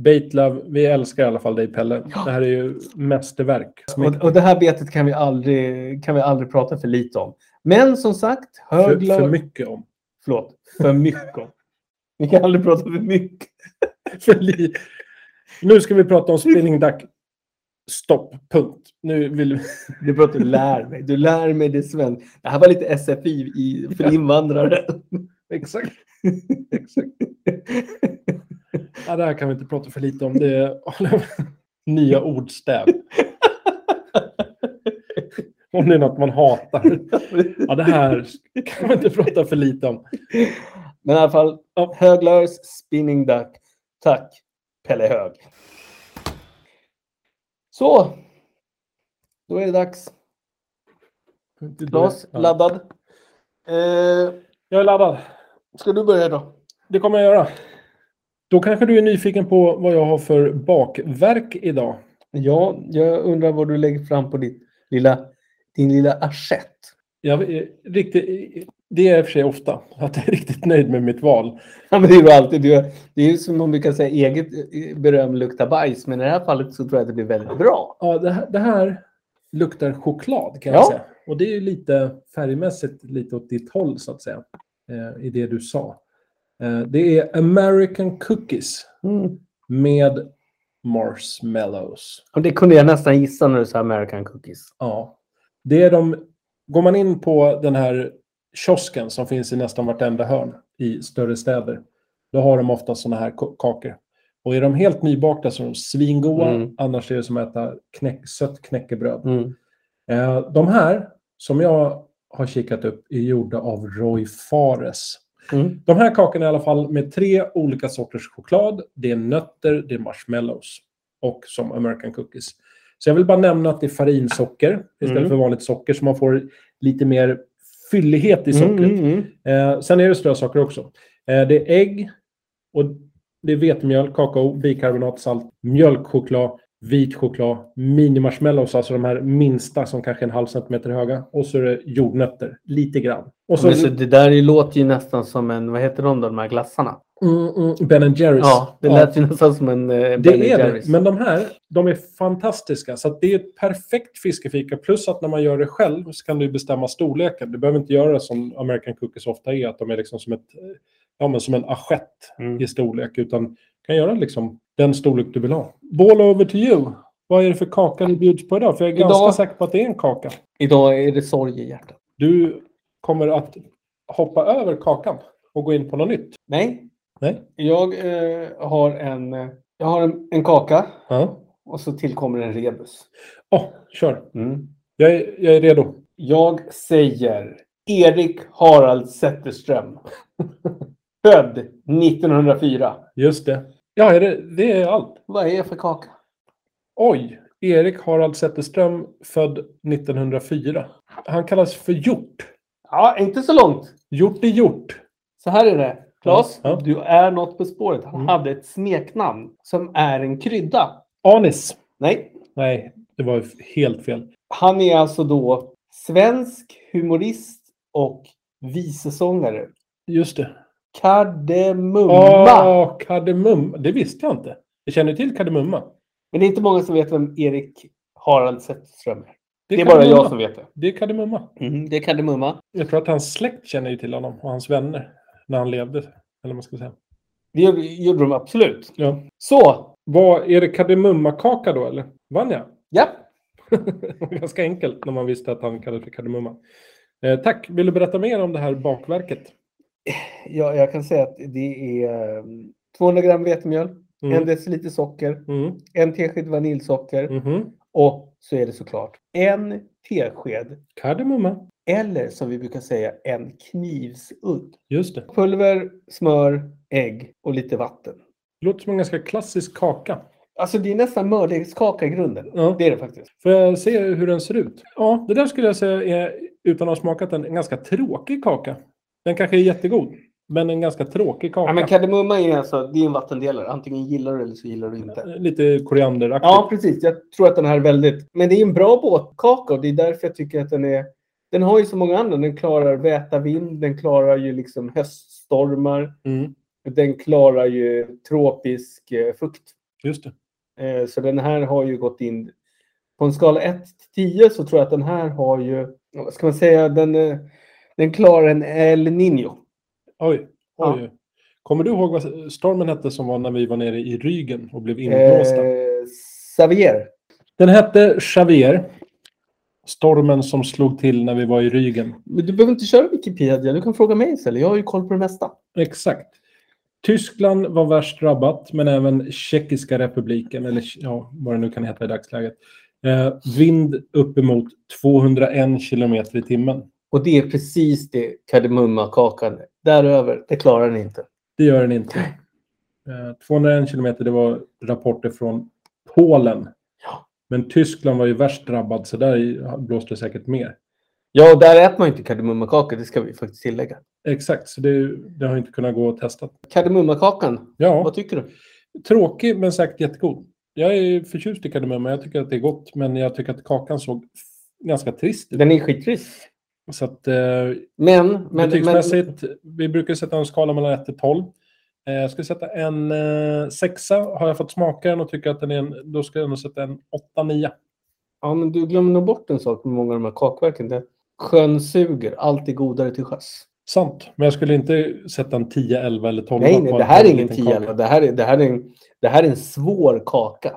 Baitlove, vi älskar i alla fall dig Pelle. Det här är ju mästerverk. Och, och det här betet kan vi, aldrig, kan vi aldrig prata för lite om. Men som sagt, För, högla... för mycket om. Förlåt, för mycket om. Vi kan aldrig prata för mycket. För li... Nu ska vi prata om spinning duck. Stopp, punkt. Nu vill vi... Det är bra att du lär mig. Du lär mig det svenska. Det här var lite SFI i, för invandrare. Exakt. Exakt. Ja, det här kan vi inte prata för lite om. Det är nya ordstäv. Om det är något man hatar. Ja, det här kan vi inte prata för lite om. Men i alla fall, Ja. Höglörs Spinning Duck. Tack, Pelle Hög. Så, då är det dags. Claes, Ja. laddad? Eh, Jag är laddad. ska du börja då? Det kommer jag göra. Då kanske du är nyfiken på vad jag har för bakverk idag. Ja, jag undrar vad du lägger fram på ditt lilla, din lilla assiett. Jag är riktigt, eh, det är jag i och för sig ofta, att jag är riktigt nöjd med mitt val. Ja, men det är ju alltid. Det är- det är ju som man brukar säga, eget eh, beröm luktar bajs. Men i det här fallet så tror jag att det blir väldigt bra. Ja, det, här, det här luktar choklad kan Ja. jag säga. Och det är ju lite färgmässigt lite åt ditt håll så att säga. Eh, I det du sa. Eh, det är American Cookies Mm. med marshmallows. Och det kunde jag nästan gissa när du sa American Cookies. Ja. Det är de, går man in på den här kiosken som finns i nästan vartenda hörn i större städer, då har de ofta såna här ko- kakor. Och är de helt nybakta så är de svingoda, Mm. annars är det som att äta knäck, sött knäckebröd. Eh, de här, som jag har kikat upp, är gjorda av Roy Fares. Mm. De här kakorna i alla fall med tre olika sorters choklad. Det är nötter, det är marshmallows och som American cookies. Så jag vill bara nämna att det är farinsocker istället Mm. för vanligt socker så man får lite mer fyllighet i sockret. Mm, mm, Eh, sen är det strösaker också. Eh, det är ägg, och det är vetemjöl, kakao, bikarbonat, salt, mjölkchoklad, vit choklad, mini-marshmallows, alltså de här minsta som kanske är en halv centimeter höga. Och så är det jordnötter, lite grann. Och så, Men så det där ju låter ju nästan som en, vad heter de då, de här glassarna? mm, mm, Ben Jerrys. Ja, det lät ju nästan som en eh, Ben Det är Jerrys. det. Men de här, de är fantastiska. Så att det är ett perfekt fiskefika. Plus att när man gör det själv så kan du bestämma storleken. Du behöver inte göra som American Cookies ofta är, att de är liksom som, ett, eh, ja, men som en assiett Mm. i storlek. Utan du kan göra liksom den storlek du vill ha. Ball over to you. Vad är det för kaka du bjuds på idag? För jag är Idag- ganska säker på att det är en kaka. Idag är det sorg i hjärtat. Du kommer att hoppa över kakan och gå in på något nytt. Nej, Nej? jag eh, har, en, eh, jag har en, en kaka Ja. och så tillkommer en rebus. Mm. Åh, kör. Jag är, jag är redo. Jag säger Erik Harald Zetterström. Född 1904. Just det. Ja, är det, det är allt. Vad är jag för kaka? Oj, Erik Harald Zetterström, född 1904. Han kallas för Hjort. Ja, inte så långt. Hjort är Hjort. Så här är det. Claes, Ja, ja. du är något på spåret. Han Mm. hade ett smeknamn som är en krydda. Anis. Nej, Nej, Det var helt fel. Han är alltså då svensk humorist och visesångare. Just det. Kardemumma. Åh, kardemumma. Det visste jag inte. Jag känner till kardemumma. Men det är inte många som vet vem Erik Harald Zetterström är. Det är, bara kardemumma. jag som vet det. Det är kardemumma. Mm, det är kardemumma. Jag tror att hans släkt känner ju till honom och hans vänner när han levde. Eller vad man ska säga. Det gjorde- gjorde de absolut. Ja. Så, Vad, är det kardemummakaka då eller? Vann jag? ja. Ganska enkelt när man visste att han kallade för kardemumma. Eh, tack. Vill du berätta mer om det här bakverket? ja. Jag kan säga att det är eh, 200 gram vetemjöl, en Mm. deciliter socker, Mm. en tesked vaniljsocker Mhm. och så är det såklart en tesked Kardemumma. eller som vi brukar säga en knivsudd. Just det. Pulver, smör, ägg och lite vatten. Det låter som en ganska klassisk kaka. Alltså det är nästan mördegskaka i grunden. Ja. Det är det faktiskt. Får jag se hur den ser ut? Ja, det där skulle jag säga är, utan att ha smakat den, en ganska tråkig kaka. Den kanske är jättegod, men en ganska tråkig kaka. Ja, men kardemumma är alltså, det är en vattendelare. Antingen gillar du eller så gillar du inte. Lite korianderaktigt. Ja, precis. Jag tror att den här är väldigt... Men det är en bra båtkaka och det är därför jag tycker att den är... Den har ju så många andra. Den klarar väta vind, den klarar ju liksom höststormar. Mm, Den klarar ju tropisk eh, fukt. just det. Eh, Så den här har ju gått in... På en skala 1 till 10 så tror jag att den här har ju... ja, Vad ska man säga? Den, eh, den klarar en El Niño. Oj, oj. Ja. oj. Kommer du ihåg vad stormen hette som var när vi var nere i Rügen och blev inblåsta? Eh, Xavier. Den hette Xavier. Stormen som slog till när vi var i Rügen. Men du behöver inte köra Wikipedia. Du kan fråga mig istället. Jag har ju koll på det mesta. Exakt. Tyskland var värst drabbat, men även Tjeckiska republiken, eller ja, vad det nu kan heta i dagsläget. Eh, vind uppemot 201 kilometer i timmen. Och det är precis det kardemummakakan är. Däröver, det klarar den inte. Det gör den inte. Eh, 201 kilometer, det var rapporter från Polen. Ja. Men Tyskland var ju värst drabbad, så där i- blåste det säkert mer. Ja, och där äter man ju inte kardemummakaka. Det ska vi faktiskt tillägga. Exakt, så det, det har inte kunnat gå att testa. Kardemummakakan, Ja, vad tycker du? tråkig men säkert jättegod. Jag är förtjust i kardemumma, jag tycker att det är gott, men jag tycker att kakan såg f- ganska trist ut. Den är skittrist. Så att, eh, Men, men, men betygsmässigt, vi brukar sätta en skala mellan 1 till 12. Eh, jag skulle sätta en eh, sexa. Har jag fått smaka den och tycker att den är en, då ska jag nog sätta en 8-9. ja, men du glömmer nog bort en sak med många av de här kakverken. Det är sjön suger. Allt är godare till sjöss. Sant, men jag skulle inte sätta en 10, 11 eller 12. Nej, på nej, en det här är liten ingen kaka. tiella. Det här är, det, här är en, det här är en svår kaka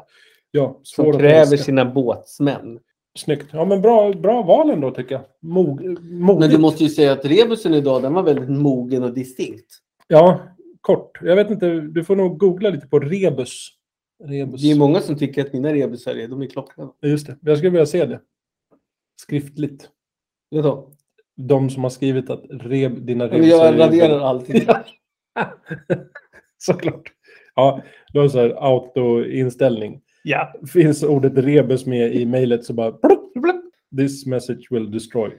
Ja, som svår kräver att sin... sina båtsmän. Snyggt. Ja, men bra, bra val ändå tycker jag. Mog, modigt. Men du måste ju säga att rebusen idag, den var väldigt mogen och distinkt. Ja, kort. Jag vet inte, du får nog googla lite på rebus. Rebus. Det är många som tycker att mina rebusar är, de är klockrena. Ja, Just det, jag skulle vilja se det. Skriftligt. Vet du vad? De som har skrivit att reb, dina Men rebus... Jag raderar alltid. Såklart. Ja, du har en sån här autoinställning. Ja. Finns ordet rebus med i mejlet så bara... plupp, plupp. This message will destroy.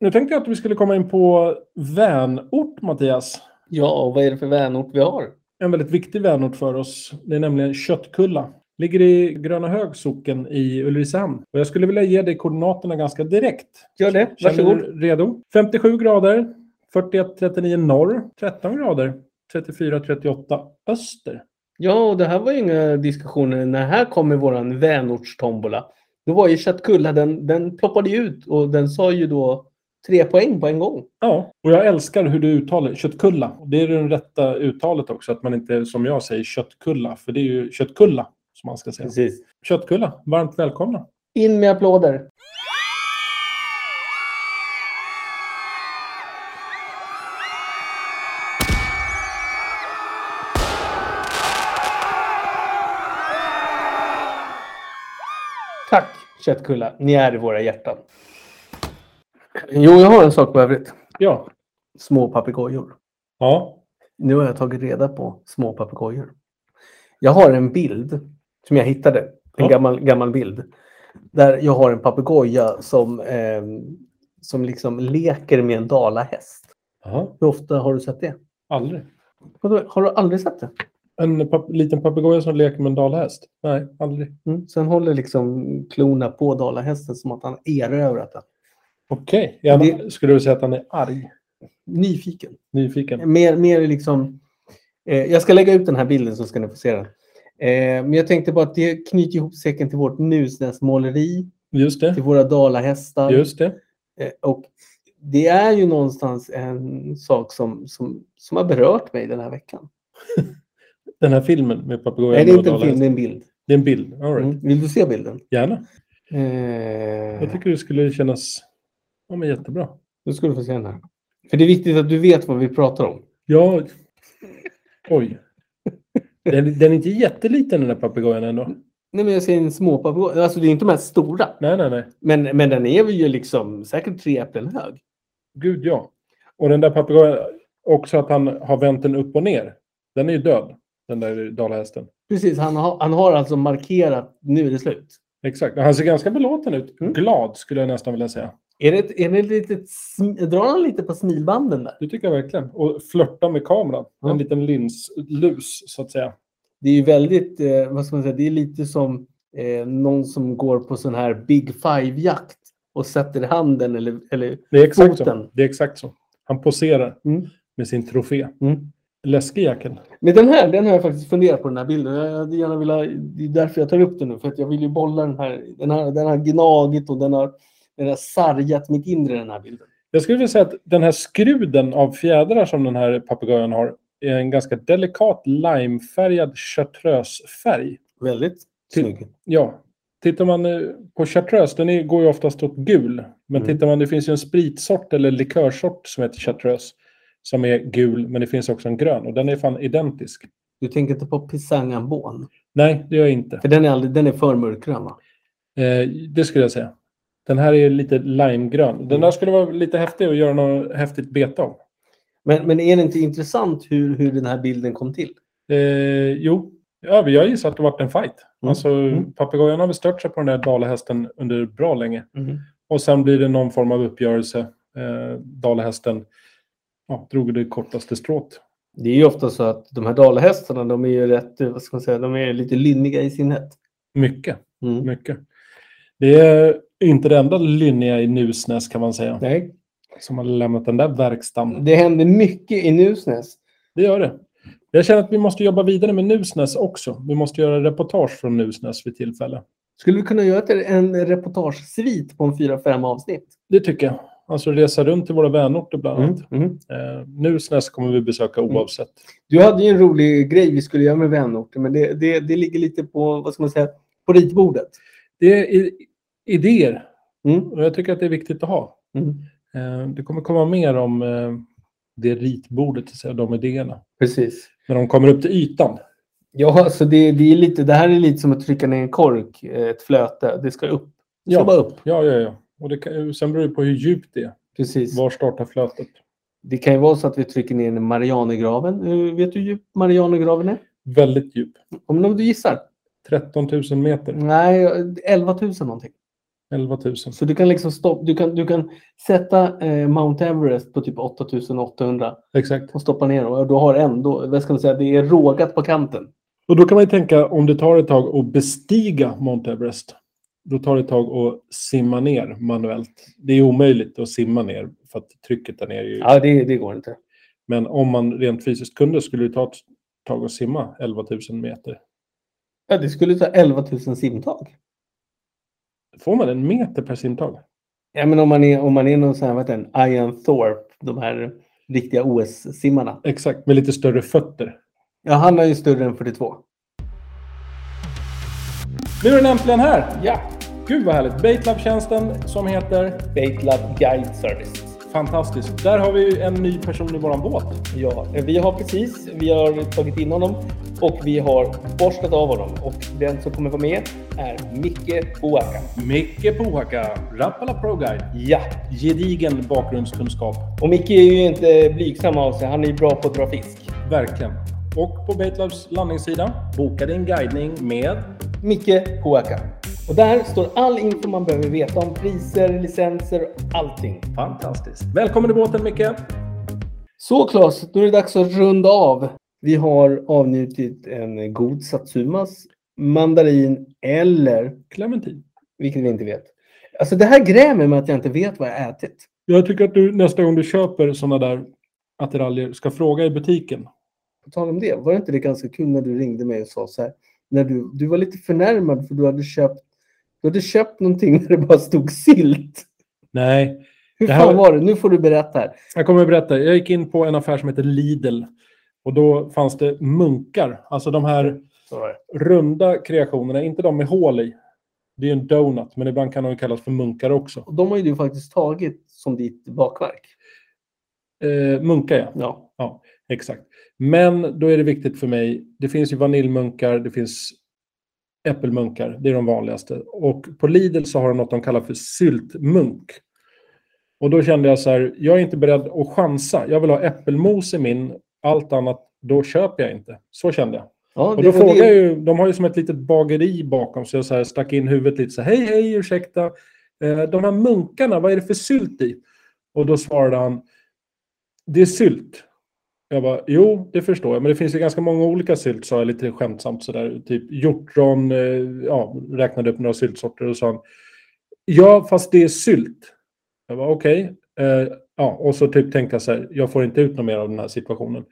Nu tänkte jag att vi skulle komma in på vänort, Mattias. ja, och vad är det för vänort vi har? En väldigt viktig vänort för oss. Det är nämligen Köttkulla. Ligger i Gröna Hög socken i Ulricehamn. Och jag skulle vilja ge dig koordinaterna ganska direkt. Gör det, Känner varsågod. du redo? 57 grader, 41-39 norr, 13 grader, 34-38 öster. Ja, och det här var ju inga diskussioner. När här kommer våran vänortstombola. Då var ju Köttkulla, den, den ploppade ju ut och den sa ju då tre poäng på en gång. Ja, och jag älskar hur du uttalar köttkulla. Det är det rätta uttalet också, att man inte som jag säger köttkulla, för det är ju köttkulla som man ska säga. Precis. Köttkulla, varmt välkomna. In med applåder. Tack Köttkulla, ni är i våra hjärtan. Jo, jag har en sak på övrigt. Ja, Små papegojor. ja, Nu har jag tagit reda på små papegojor. Jag har en bild som jag hittade. En Ja. gammal, gammal bild. Där jag har en papegoja som, ehm, som liksom leker med en dalahäst. Aha, Hur ofta har du sett det? aldrig. Vadå, Har du aldrig sett det? En pap- liten papegoja som leker med en dalhäst? Nej, aldrig. Mm. Sen håller liksom klorna på dalahästen som att han erövrat den. Okej. Är han- Skulle du säga att han är arg? Nyfiken. Nyfiken? Mer, mer liksom... Eh, jag ska lägga ut den här bilden så ska ni få se den. Eh, men jag tänkte bara att det knyter ihop säcken till vårt musnäsmåleri, Just till det. våra dalahästar. Just det. Eh, och det är ju någonstans en sak som, som, som har berört mig den här veckan. Den här filmen med papegojan Nej, det är och inte en film, dalhästen. det är en bild. Det är en bild. All right. Mm. Vill du se bilden? Gärna. Jag Eh, tycker det skulle kännas ja, men jättebra. nu ska du få se den här. För det är viktigt att du vet vad vi pratar om. Ja. Oj. Den, den är inte jätteliten den där papegojan ändå. Nej, men jag ser en småpapegoja. Alltså, det är inte de här stora. Nej, nej, nej. Men, men den är ju liksom säkert tre äpplen hög. Gud ja. Och den där papegojan, också att han har vänt den upp och ner. Den är ju död, den där dalahästen. Precis, han har, han har alltså markerat nu är det slut. Exakt. Och Han ser ganska belåten ut. Mm. Glad skulle jag nästan vilja säga. Är det, ett- är det ett litet, sm- drar han lite på smilbanden där? Det tycker jag verkligen. Och flörta med kameran. Ja. En liten linslus, så att säga. Det är ju väldigt, eh, vad ska man säga, det är lite som eh, någon som går på sån här Big Five-jakt och sätter handen eller, eller Det är exakt Foten. så. Det är exakt så. Han poserar Mm. med sin trofé. Mm. Läskig jäkel. Men den här, den har jag faktiskt funderat på den här bilden. Jag hade gärna velat, det är därför jag tar upp den nu, för att jag vill ju bolla den här. Den, här, den har gnagit och den har, den har sargat mitt inre, den här bilden. Jag skulle vilja säga att den här skruden av fjädrar som den här papegojan har är en ganska delikat limefärgad chartreusefärg. Väldigt Till- snygg. Ja, tittar man eh, på chartreuse, den är, går ju oftast åt gul. Men Mm. tittar man, det finns ju en spritsort eller likörsort som heter chartreuse som är gul, men det finns också en grön och den är fan identisk. Du tänker inte på pisangambon? Nej, det gör jag inte. För den är, aldrig, den är för mörkgrön va? Eh, det skulle jag säga. Den här är lite limegrön. Den där skulle vara lite häftig att göra något häftigt bete av. Men, men är det inte intressant hur, hur den här bilden kom till? Eh, jo, ja, men jag gissar att det varit en fight. Alltså, Mm. Papegojan har väl stört sig på den där dalahästen under bra länge. Mm. Och sen blir det någon form av uppgörelse. Eh, dalahästen ja, drog det kortaste strået. Det är ju ofta så att de här dalahästarna, de är ju rätt, eh, vad ska man säga, de är lite lynniga i sinnet. Mycket, Mm. mycket. Det är inte det enda lynniga i Nusnäs kan man säga. Nej. Som har lämnat den där verkstan. Det händer mycket i Nusnäs. Det gör det. Jag känner att vi måste jobba vidare med Nusnäs också. Vi måste göra reportage från Nusnäs vid tillfälle. Skulle vi kunna göra ett- en reportagesvit på en fyra fem avsnitt? Det tycker jag. Alltså resa runt till våra vänorter bland annat. Mm. Eh, Nusnäs kommer vi besöka oavsett. Du hade ju en rolig grej vi skulle göra med vänorten, men det, det, det ligger lite på, vad ska man säga, på ritbordet. Det är i- idéer Mm. och jag tycker att det är viktigt att ha. Mm. Eh, det kommer komma mer om eh, det ritbordet, så att säga, de idéerna. Precis. När de kommer upp till ytan. Ja, alltså det, det, är lite, det här är lite som att trycka ner en kork, eh, ett flöte. Det ska upp. Det ska Ja. bara upp. Ja, ja, ja. Och det kan, sen beror det på hur djupt det är. Precis. Var startar flötet? Det kan ju vara så att vi trycker ner den i Marianergraven. Hur- Vet du hur djup Marianergraven är? Väldigt djup. Om om du gissar? 13 000 meter. Nej, 11 000 någonting. 11 000. Så du kan liksom stopp, du kan, du kan sätta eh, Mount Everest på typ 8800 Exakt. och stoppa ner dem. Och du har ändå, vad ska man säga, det är rågat på kanten. Och då kan man ju tänka om det tar ett tag att bestiga Mount Everest. Då tar det ett tag att simma ner manuellt. Det är omöjligt att simma ner för att trycket där nere är ju Ja, det, det går inte. Men om man rent fysiskt kunde skulle det ta ett tag att simma 11 000 meter. Ja, det skulle ta 11 000 simtag. Får man en meter per simtag? Ja, men om man är, om man är någon sån här, vad heter den, Ian Thorpe, de här riktiga OS-simmarna. Exakt, med lite större fötter. Ja, han är ju större än 42. Nu är den äntligen här! Ja! Gud vad härligt! Baitlab-tjänsten som heter Baitlab Guide Service. Fantastiskt. Där har vi ju en ny person i våran båt. Ja, vi har precis, vi har tagit in honom och vi har borstat av honom. Och den som kommer vara med är Micke Boakan. Micke Pohaka, Rappala Pro Guide. Ja, Gedigen bakgrundskunskap. och Micke är ju inte blygsam av sig. Han är ju bra på att dra fisk. Verkligen. Och på Baitlabs landningssida, boka din guidning med... Micke Boakan. Och där står all info man behöver veta om priser, licenser, allting. Fantastiskt. Välkommen i båten Micke! Så Claes, nu är det dags att runda av. Vi har avnjutit en god satsumas, mandarin eller, Clementin. vilket vi inte vet. Alltså det här grämer mig att jag inte vet vad jag ätit. Jag tycker att du nästa gång du köper sådana där attiraljer ska fråga i butiken. På tal om det, var det inte det ganska kul när du ringde mig och sa så här, när du, du var lite förnärmad för du hade köpt, du hade köpt någonting där det bara stod silt. Nej, Hur Det här fan var- var det? Nu får du berätta här. jag kommer att berätta. Jag gick in på en affär som heter Lidl och då fanns det munkar. Alltså de här runda kreationerna, inte de med hål i. Det är en donut, men ibland kan de ju kallas för munkar också. Och de har ju du faktiskt tagit som ditt bakverk. Eh, munkar, ja. Ja. Exakt. Men då är det viktigt för mig. Det finns ju vaniljmunkar, det finns äppelmunkar. Det är de vanligaste. Och på Lidl så har de något de kallar för syltmunk. Och då kände jag så här, jag är inte beredd att chansa. Jag vill ha äppelmos i min. Allt annat, då köper jag inte. Så kände jag. ja Och då frågade jag ju, de har ju som ett litet bageri bakom, så jag så här stack in huvudet lite så här, hej, hej, ursäkta. Eh, De här munkarna, vad är det för sylt i? Och då svarade han, det är sylt. Jag bara, jo, det förstår jag, men det finns ju ganska många olika sylt, sa jag lite skämtsamt sådär. Typ hjortron, eh, ja, räknade upp några syltsorter och sa han, ja, fast det är sylt. Jag bara, okej. Eh, ja, och så typ tänka så här, jag får inte ut något mer av den här situationen.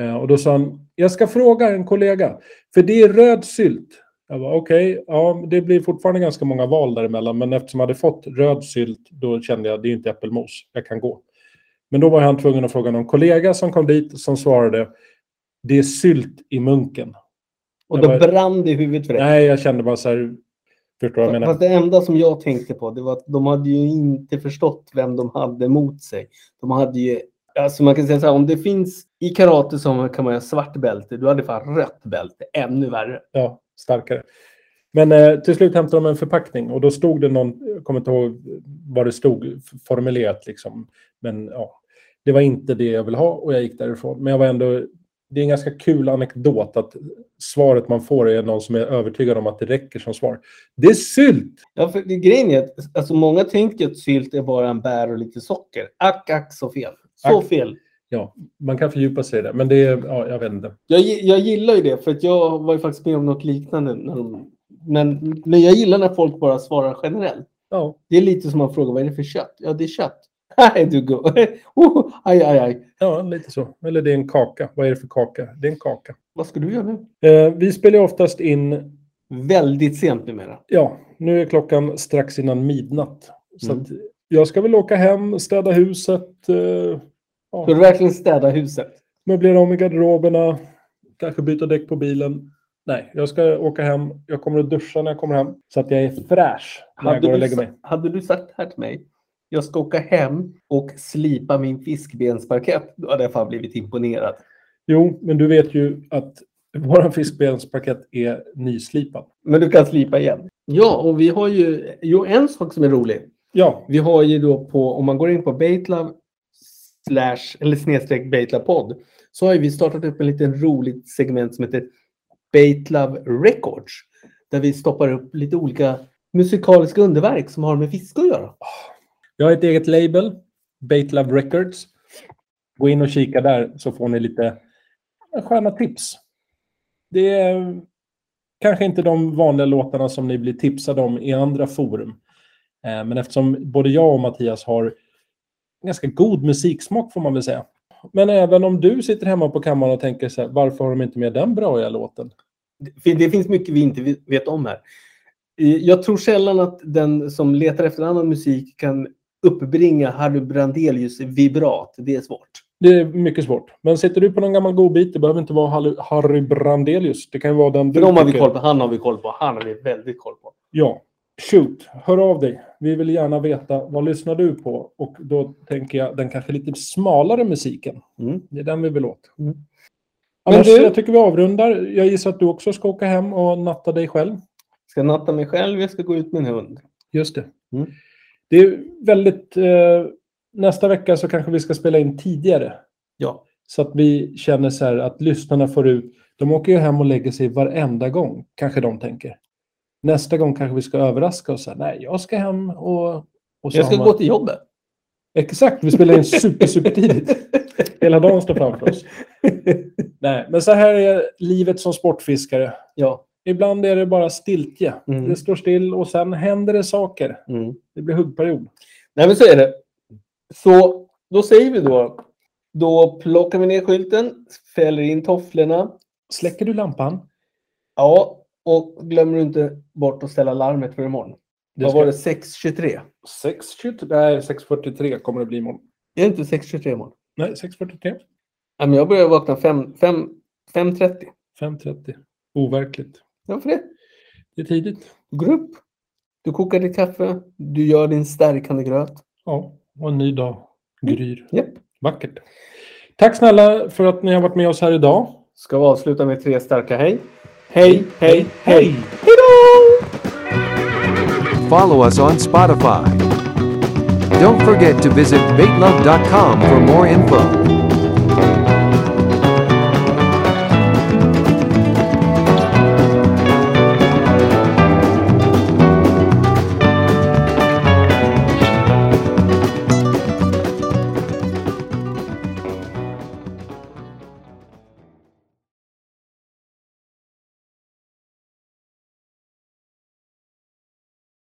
Eh, Och då sa han, jag ska fråga en kollega, för det är röd sylt. Jag bara, okej, ja, det blir fortfarande ganska många val däremellan, men eftersom jag hade fått röd sylt, då kände jag, det är inte äppelmos, jag kan gå. Men då var han tvungen att fråga någon kollega som kom dit, som svarade, det är sylt i munken. och då jag brann det i huvudet för dig. Nej, jag kände bara så här, förstår du vad jag menar? Fast det enda som jag tänkte på det var att de hade ju inte förstått vem de hade mot sig. De hade ju, alltså man kan säga så här, om det finns i karate så kan man ha svart bälte, du hade fan rött bälte, ännu värre. ja, starkare. Men eh, till slut hämtade de en förpackning och då stod det någon, jag kommer inte ihåg vad det stod f- formulerat liksom, men ja, det var inte det jag ville ha och jag gick därifrån. Men jag var ändå, det är en ganska kul anekdot att svaret man får är någon som är övertygad om att det räcker som svar. Det är sylt! Ja, för det, grejen är att alltså, många tänker att sylt är bara en bär och lite socker. Ack, ack så fel. Så Ack. fel. Man kan fördjupa sig i det, men det är, ja, jag vet inte. Jag, gi- jag gillar ju det, för att jag var ju faktiskt med om något liknande. När de, men, men jag gillar när folk bara svarar generellt. Ja, Det är lite som man frågar vad är det för kött? Ja, det är kött. Nej, du go. Oh, aj, aj, aj. ja, lite så. Eller det är en kaka. Vad är det för kaka? Det är en kaka. Vad ska du göra nu? Eh, vi spelar ju oftast in Väldigt sent numera. Ja, nu är klockan strax innan midnatt. Så Mm. att jag ska väl åka hem, städa huset, eh, ja, Ska du verkligen städa huset? möblera om i garderoberna, kanske byta däck på bilen. Nej, jag ska åka hem. Jag kommer att duscha när jag kommer hem så att jag är fräsch när jag går och lägger mig. du, hade du sagt här till mig, jag ska åka hem och slipa min fiskbensparkett, då hade jag fan blivit imponerad. Jo, men du vet ju att vår fiskbensparkett är nyslipad. Men du kan slipa igen. Ja, och vi har ju... Jo, en sak som är rolig. Ja, Vi har ju då på... Om man går in på Baitlove slash, eller snedstreck Baitlove podd så har ju vi startat upp en liten roligt segment som heter Baitlove Records. Där vi stoppar upp lite olika musikaliska underverk som har med fisk att göra. jag har ett eget label, Bait Love Records. Gå in och kika där så får ni lite sköna tips. Det är kanske inte de vanliga låtarna som ni blir tipsade om i andra forum. Eh, Men eftersom både jag och Mattias har ganska god musiksmak får man väl säga. Men även om du sitter hemma på kammaren och tänker så här, varför har de inte med den braiga låten? Det det finns mycket vi inte vet om här. Eh, Jag tror sällan att den som letar efter annan musik kan uppbringa Harry Brandelius vibrat. Det är svårt. Det är mycket svårt. Men sitter du på någon gammal godbit, det behöver inte vara Harry- Harry Brandelius. Det kan ju vara den För du de har vi tycker- koll på. Han har vi koll på. Han har vi väldigt koll på. Ja, shoot. Hör av dig. Vi vill gärna veta vad lyssnar du på? Och då tänker jag den kanske lite smalare musiken. Mm. Det är den vi vill åt. Mm. Annars, Men du- Jag tycker vi avrundar. Jag gissar att du också ska åka hem och natta dig själv. Ska jag natta mig själv? Jag ska gå ut med en hund. Just det. Mm. Det är väldigt... Eh, nästa vecka så kanske vi ska spela in tidigare. Ja. Så att vi känner så här att lyssnarna får ut... De åker ju hem och lägger sig varenda gång, kanske de tänker. Nästa gång kanske vi ska överraska och säga nej, jag ska hem och... och så Jag ska har man- gå till jobbet. Exakt, vi spelar in super, super tidigt. Hela dagen står framför oss. Nej, men så här är livet som sportfiskare. Ja. Ibland är det bara stiltje. Mm. Det står still och sen händer det saker. Mm. Det blir huggperiod. Nej, men så är det. Så då säger vi då. Då plockar vi ner skylten, fäller in tofflorna. Släcker du lampan? Ja, och glömmer du inte bort att ställa larmet för imorgon. Det Vad ska- var det? 6.23? 6.23? Nej, 6.43 kommer det bli imorgon. Är det inte 6.23 imorgon? Nej, 6.43. Nej, men jag börjar vakna fem- fem- 5.30. 5.30. Overkligt. Varför det? Det är tidigt. Du går upp. Du kokar ditt kaffe. Du gör din stärkande gröt. Ja, och en ny dag gryr. Japp. Vackert. Tack snälla för att ni har varit med oss här idag. Ska vi avsluta med tre starka hej? Hej, hej, hej! Follow us on Spotify. Don't forget to visit baitlove.com for more info.